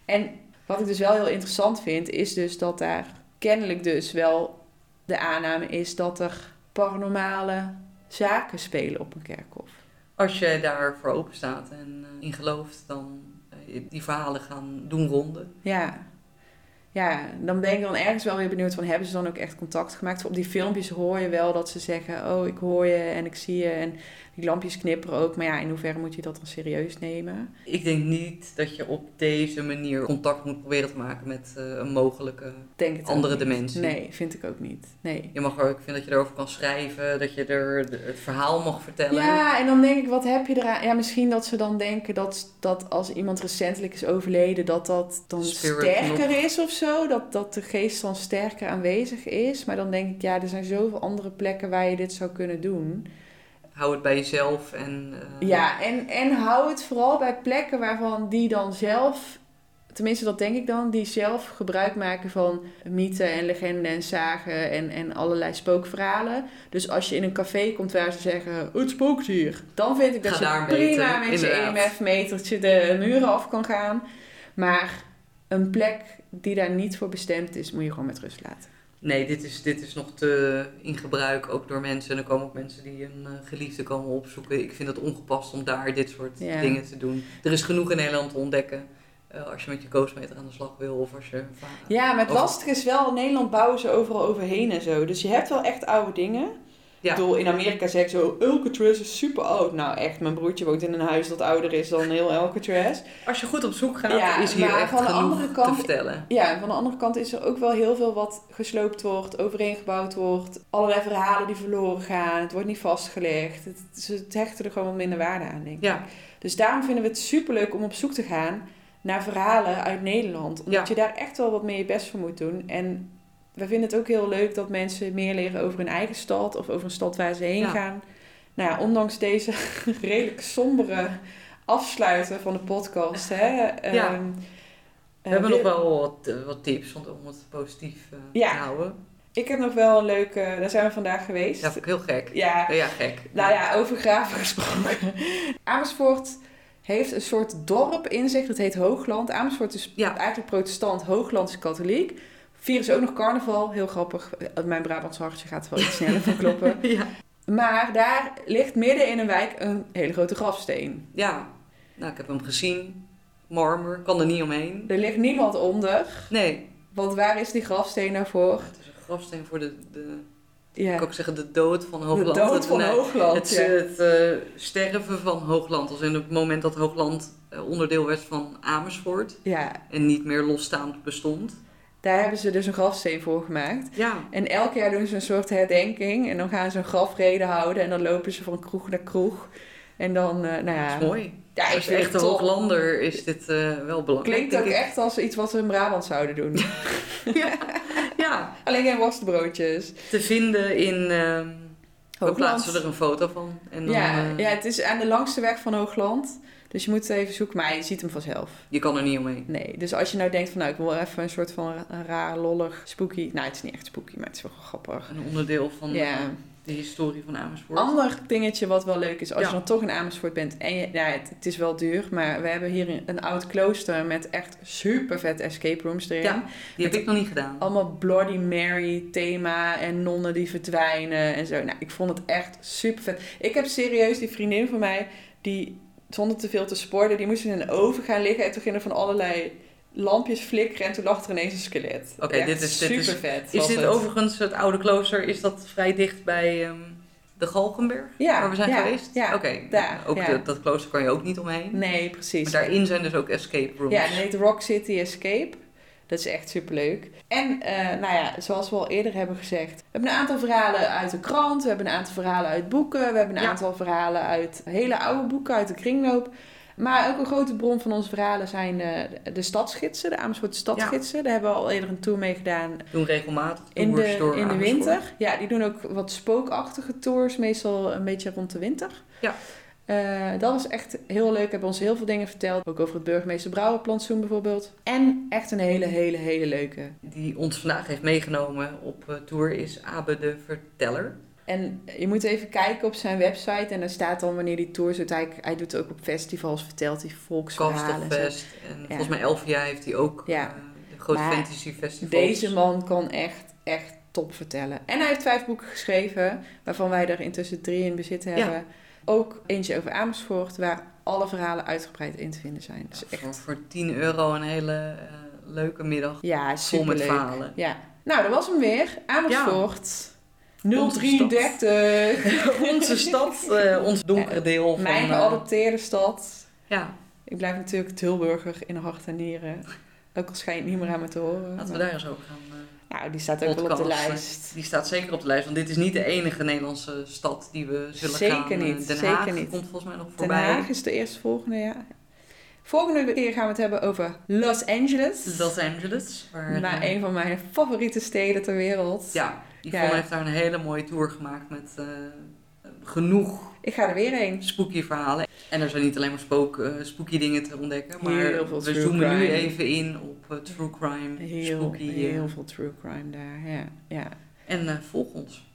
Speaker 2: En wat ik dus wel heel interessant vind, is dus dat daar kennelijk dus wel de aanname is dat er paranormale zaken spelen op een kerkhof.
Speaker 1: Als je daarvoor open staat en eh, in gelooft, dan eh, die verhalen gaan doen ronden.
Speaker 2: Ja. Ja, dan ben ik dan ergens wel weer benieuwd van hebben ze dan ook echt contact gemaakt? Op die filmpjes hoor je wel dat ze zeggen: "Oh, ik hoor je en ik zie je" en die lampjes knipperen ook, maar ja, in hoeverre moet je dat dan serieus nemen?
Speaker 1: Ik denk niet dat je op deze manier contact moet proberen te maken met eh, een mogelijke
Speaker 2: Ik Denk het ook
Speaker 1: Andere
Speaker 2: niet.
Speaker 1: dimensie.
Speaker 2: Nee, vind ik ook niet. Nee.
Speaker 1: Je mag er, ik vind dat je erover kan schrijven, dat je er de- het verhaal mag vertellen.
Speaker 2: Ja, en dan denk ik, wat heb je eraan? Ja, misschien dat ze dan denken dat, dat als iemand recentelijk is overleden, dat dat dan
Speaker 1: Spirit
Speaker 2: sterker
Speaker 1: nog.
Speaker 2: is of zo. zo, dat, dat de geest dan sterker aanwezig is. Maar dan denk ik, ja, er zijn zoveel andere plekken waar je dit zou kunnen doen.
Speaker 1: Hou het bij jezelf en... eh,
Speaker 2: Ja, en, en hou het vooral bij plekken waarvan die dan zelf, tenminste dat denk ik dan, die zelf gebruik maken van mythen en legenden en zagen en, en allerlei spookverhalen. Dus als je in een café komt waar ze zeggen, het spookt hier, dan vind ik dat
Speaker 1: Ga
Speaker 2: je
Speaker 1: daar
Speaker 2: prima
Speaker 1: meten,
Speaker 2: met je
Speaker 1: inderdaad.
Speaker 2: EMF-metertje de muren af kan gaan. Maar een plek die daar niet voor bestemd is, moet je gewoon met rust laten.
Speaker 1: Nee, dit is, dit is nog te in gebruik, ook door mensen. En er komen ook mensen die een eh, geliefde komen opzoeken. Ik vind het ongepast om daar dit soort
Speaker 2: Ja.
Speaker 1: dingen te doen. Er is genoeg in Nederland te ontdekken. eh, als je met je koosmeter aan de slag wil of als je...
Speaker 2: Ja, maar het
Speaker 1: Of-
Speaker 2: lastige is wel, in Nederland bouwen ze overal overheen en zo. Dus je hebt wel echt oude dingen.
Speaker 1: Ja.
Speaker 2: Ik bedoel, in Amerika zeg ik zo, Alcatraz is super oud. Nou echt, mijn broertje woont in een huis dat ouder is dan heel Alcatraz.
Speaker 1: Als je goed op zoek gaat,
Speaker 2: Ja,
Speaker 1: is hier
Speaker 2: maar
Speaker 1: echt
Speaker 2: van de
Speaker 1: genoeg
Speaker 2: andere kant-
Speaker 1: te vertellen.
Speaker 2: Ja, en van de andere kant is er ook wel heel veel wat gesloopt wordt, overeengebouwd wordt. Allerlei verhalen die verloren gaan, het wordt niet vastgelegd. Het, ze hechten er gewoon wat minder waarde aan, denk ik.
Speaker 1: Ja,
Speaker 2: Dus daarom vinden we het superleuk om op zoek te gaan naar verhalen uit Nederland. Omdat
Speaker 1: Ja.
Speaker 2: je daar echt wel wat meer je best voor moet doen. En we vinden het ook heel leuk dat mensen meer leren over hun eigen stad of over een stad waar ze heen
Speaker 1: Ja.
Speaker 2: gaan. Nou ja, ondanks deze redelijk sombere afsluiten van de podcast. Hè, ehm,
Speaker 1: Ja.
Speaker 2: eh,
Speaker 1: we hebben nog
Speaker 2: wil-
Speaker 1: wel wat, eh, wat tips om- om het positief eh,
Speaker 2: Ja.
Speaker 1: te houden.
Speaker 2: Ik heb nog wel een leuke... Daar zijn we vandaag geweest.
Speaker 1: Ja, vond ik heel gek.
Speaker 2: ja
Speaker 1: Ja, gek.
Speaker 2: Nou ja, over graven gesproken. Amersfoort heeft een soort dorp in zich, dat heet Hoogland. Amersfoort is
Speaker 1: Ja.
Speaker 2: eigenlijk protestant, Hoogland is katholiek. Vieren ze ook nog carnaval, heel grappig. Eh, Mijn Brabants hartje gaat wel iets sneller van kloppen.
Speaker 1: Ja.
Speaker 2: Maar daar ligt midden in een wijk een hele grote grafsteen.
Speaker 1: ja, nou ik heb hem gezien. Marmer, kan er niet omheen.
Speaker 2: Er ligt niemand onder,
Speaker 1: Nee,
Speaker 2: want waar is die grafsteen nou voor?
Speaker 1: het is een grafsteen voor de, de
Speaker 2: Ja,
Speaker 1: Ik kan ook zeggen de dood van
Speaker 2: de
Speaker 1: Hoogland.
Speaker 2: dood
Speaker 1: Het-
Speaker 2: van
Speaker 1: nee,
Speaker 2: Hoogland.
Speaker 1: Het,
Speaker 2: ja.
Speaker 1: het eh, sterven van Hoogland. Als in het moment dat Hoogland eh, onderdeel werd van Amersfoort.
Speaker 2: ja,
Speaker 1: En niet meer losstaand bestond.
Speaker 2: daar hebben ze dus een grafsteen voor gemaakt.
Speaker 1: Ja,
Speaker 2: En elk jaar doen ze een soort herdenking. En dan gaan ze een grafrede houden. En dan lopen ze van kroeg naar kroeg. En dan, eh, nou
Speaker 1: dat
Speaker 2: ja.
Speaker 1: is mooi.
Speaker 2: Ja, ik
Speaker 1: Als je
Speaker 2: vind
Speaker 1: echt een
Speaker 2: het top.
Speaker 1: Hooglander is dit eh, wel belangrijk.
Speaker 2: Klinkt ook
Speaker 1: denk
Speaker 2: echt als iets wat we in Brabant zouden doen.
Speaker 1: ik. Ja, ja,
Speaker 2: Alleen geen worstenbroodjes.
Speaker 1: te vinden in... ehm we plaatsen er een foto van. En dan,
Speaker 2: ja,
Speaker 1: eh,
Speaker 2: ja, het is aan de langste weg van Hoogland. Dus je moet het even zoeken. Maar je ziet hem vanzelf.
Speaker 1: Je kan er niet omheen.
Speaker 2: Nee, dus als je nou denkt van nou, ik wil even een soort van ra- raar, lollig, spooky. Nou, het is niet echt spooky, maar het is wel grappig.
Speaker 1: Een onderdeel van
Speaker 2: Ja.
Speaker 1: eh, de historie van Amersfoort.
Speaker 2: Ander dingetje wat wel leuk is, als
Speaker 1: Ja.
Speaker 2: je dan toch in Amersfoort bent. En je, ja, het, het is wel duur, maar we hebben hier een, een oud klooster met echt super vet escape rooms erin.
Speaker 1: Ja, die heb ik nog niet gedaan.
Speaker 2: Allemaal Bloody Mary thema en nonnen die verdwijnen en zo. Nou, ik vond het echt super vet. Ik heb serieus die vriendin van mij, die zonder te veel te sporten, die moest in een oven gaan liggen. En toen gingen er van allerlei lampjes flikkeren en toen lag er ineens een skelet.
Speaker 1: Oké, dit is- dit is-
Speaker 2: super vet.
Speaker 1: Is dit overigens het oude klooster? Is dat vrij dicht bij ehm, de Galgenberg?
Speaker 2: Ja,
Speaker 1: waar we zijn
Speaker 2: ja,
Speaker 1: geweest?
Speaker 2: ja,
Speaker 1: Oké, nou,
Speaker 2: daar,
Speaker 1: ook
Speaker 2: ja.
Speaker 1: dat- dat klooster kan je ook niet omheen.
Speaker 2: Nee, precies.
Speaker 1: Maar daarin zijn dus ook escape rooms.
Speaker 2: Ja, en het heet Rock City Escape. Dat is echt superleuk. En eh, nou ja, zoals we al eerder hebben gezegd, we hebben een aantal verhalen uit de krant, we hebben een aantal verhalen uit boeken, we hebben een
Speaker 1: Ja.
Speaker 2: aantal verhalen uit hele oude boeken uit de kringloop. Maar ook een grote bron van onze verhalen zijn eh, de, de stadsgidsen, de Amersfoort stadsgidsen. Daar hebben we al eerder een tour mee gedaan
Speaker 1: Doen regelmatig
Speaker 2: in
Speaker 1: tours
Speaker 2: de,
Speaker 1: door
Speaker 2: in de
Speaker 1: Amersfoort.
Speaker 2: winter. Ja, die doen ook wat spookachtige tours, meestal een beetje rond de winter.
Speaker 1: Ja.
Speaker 2: Eh, dat was echt heel leuk. Hebben ons heel veel dingen verteld. Ook over het burgemeester Brouwerplantsoen bijvoorbeeld. En echt een hele, hele, hele leuke.
Speaker 1: Die ons vandaag heeft meegenomen op eh, tour is Abe de Verteller.
Speaker 2: En je moet even kijken op zijn website. En daar staat dan wanneer die tours doet. Hij, hij doet ook op festivals, vertelt hij volksverhalen. en zo.
Speaker 1: Kastelfest. En volgens mij Elvia heeft hij ook
Speaker 2: Ja.
Speaker 1: eh, de grote
Speaker 2: Maar
Speaker 1: fantasy festivals.
Speaker 2: Deze man kan echt, echt top vertellen. En hij heeft vijf boeken geschreven, waarvan wij er intussen drie in bezit hebben. Ook eentje over Amersfoort, waar alle verhalen uitgebreid in te vinden zijn. Dus echt,
Speaker 1: voor, voor 10 euro een hele eh, leuke middag.
Speaker 2: ja,
Speaker 1: Vol met
Speaker 2: superleuk.
Speaker 1: verhalen.
Speaker 2: Ja, nou, dat was hem weer. Amersfoort. 033.
Speaker 1: Onze stad, eh, ons donkere deel. Van,
Speaker 2: Mijn
Speaker 1: eh,
Speaker 2: geadopteerde stad.
Speaker 1: ja,
Speaker 2: Ik blijf natuurlijk Tilburger in hart en nieren. Ook al schijnt niet meer aan me te horen.
Speaker 1: Laten we
Speaker 2: maar-
Speaker 1: daar eens over gaan. eh.
Speaker 2: Nou, die staat ook wel op de
Speaker 1: podcasten.
Speaker 2: lijst.
Speaker 1: Die staat zeker op de lijst, want dit is niet de enige Nederlandse stad die we zullen
Speaker 2: Zeker
Speaker 1: gaan. eh,
Speaker 2: niet,
Speaker 1: Den
Speaker 2: zeker
Speaker 1: Haag
Speaker 2: niet.
Speaker 1: komt volgens mij nog
Speaker 2: Den
Speaker 1: voorbij.
Speaker 2: Haag is de eerstvolgende, ja. Volgende keer gaan we het hebben over Los Angeles.
Speaker 1: Los Dus Angeles. Waar,
Speaker 2: Nou,
Speaker 1: eh,
Speaker 2: een van mijn favoriete steden ter wereld.
Speaker 1: Ja, Yvonne
Speaker 2: Ja.
Speaker 1: heeft daar een hele mooie tour gemaakt met eh, genoeg
Speaker 2: Ik ga er weer heen.
Speaker 1: spooky verhalen. En er zijn niet alleen maar spook, eh, spooky dingen te ontdekken,
Speaker 2: Heel
Speaker 1: maar
Speaker 2: veel
Speaker 1: we
Speaker 2: true
Speaker 1: zoomen nu
Speaker 2: crime.
Speaker 1: even in op eh, true crime,
Speaker 2: Heel,
Speaker 1: spooky. eh.
Speaker 2: heel veel true crime daar. Ja, ja.
Speaker 1: En eh, volg ons.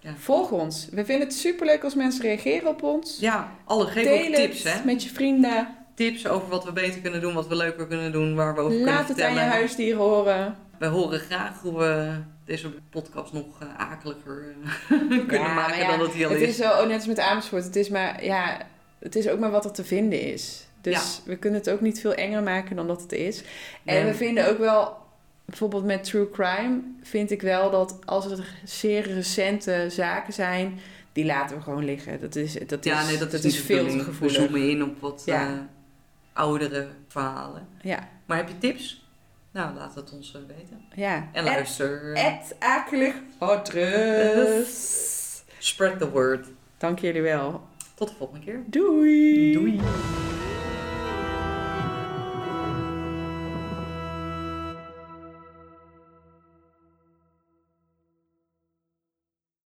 Speaker 1: Ja.
Speaker 2: Volg ons. We vinden het superleuk als mensen reageren op ons.
Speaker 1: Ja, alle, geef ook
Speaker 2: Deel
Speaker 1: tips,
Speaker 2: het
Speaker 1: hè.
Speaker 2: met je vrienden.
Speaker 1: Tips over wat we beter kunnen doen, wat we leuker kunnen doen, waar we over kunnen
Speaker 2: Laat het aan
Speaker 1: vertellen.
Speaker 2: je huisdieren horen.
Speaker 1: We horen graag hoe we deze podcast nog eh, akeliger eh, kunnen
Speaker 2: Ja,
Speaker 1: maken
Speaker 2: maar ja,
Speaker 1: dan dat hij al
Speaker 2: Het
Speaker 1: is.
Speaker 2: is zo, net als met Amersfoort, het is, maar, ja, het is ook maar wat er te vinden is. Dus we kunnen het ook niet veel enger maken dan dat het is. En
Speaker 1: Nee.
Speaker 2: we vinden ook wel, bijvoorbeeld met true crime, vind ik wel dat als er zeer recente zaken zijn, die laten we gewoon liggen. Dat is, dat is,
Speaker 1: ja, nee, dat, is, niet de
Speaker 2: veel te
Speaker 1: bedoeling.
Speaker 2: gevoelig.
Speaker 1: We zoomen in op wat
Speaker 2: Ja.
Speaker 1: eh, oudere verhalen.
Speaker 2: Ja.
Speaker 1: Maar heb je tips? Nou, laat het ons eh, weten.
Speaker 2: Ja.
Speaker 1: En luister. eh,
Speaker 2: Het akelig adres.
Speaker 1: Spread the word.
Speaker 2: Dank jullie wel.
Speaker 1: Tot de volgende keer.
Speaker 2: Doei.
Speaker 1: Doei.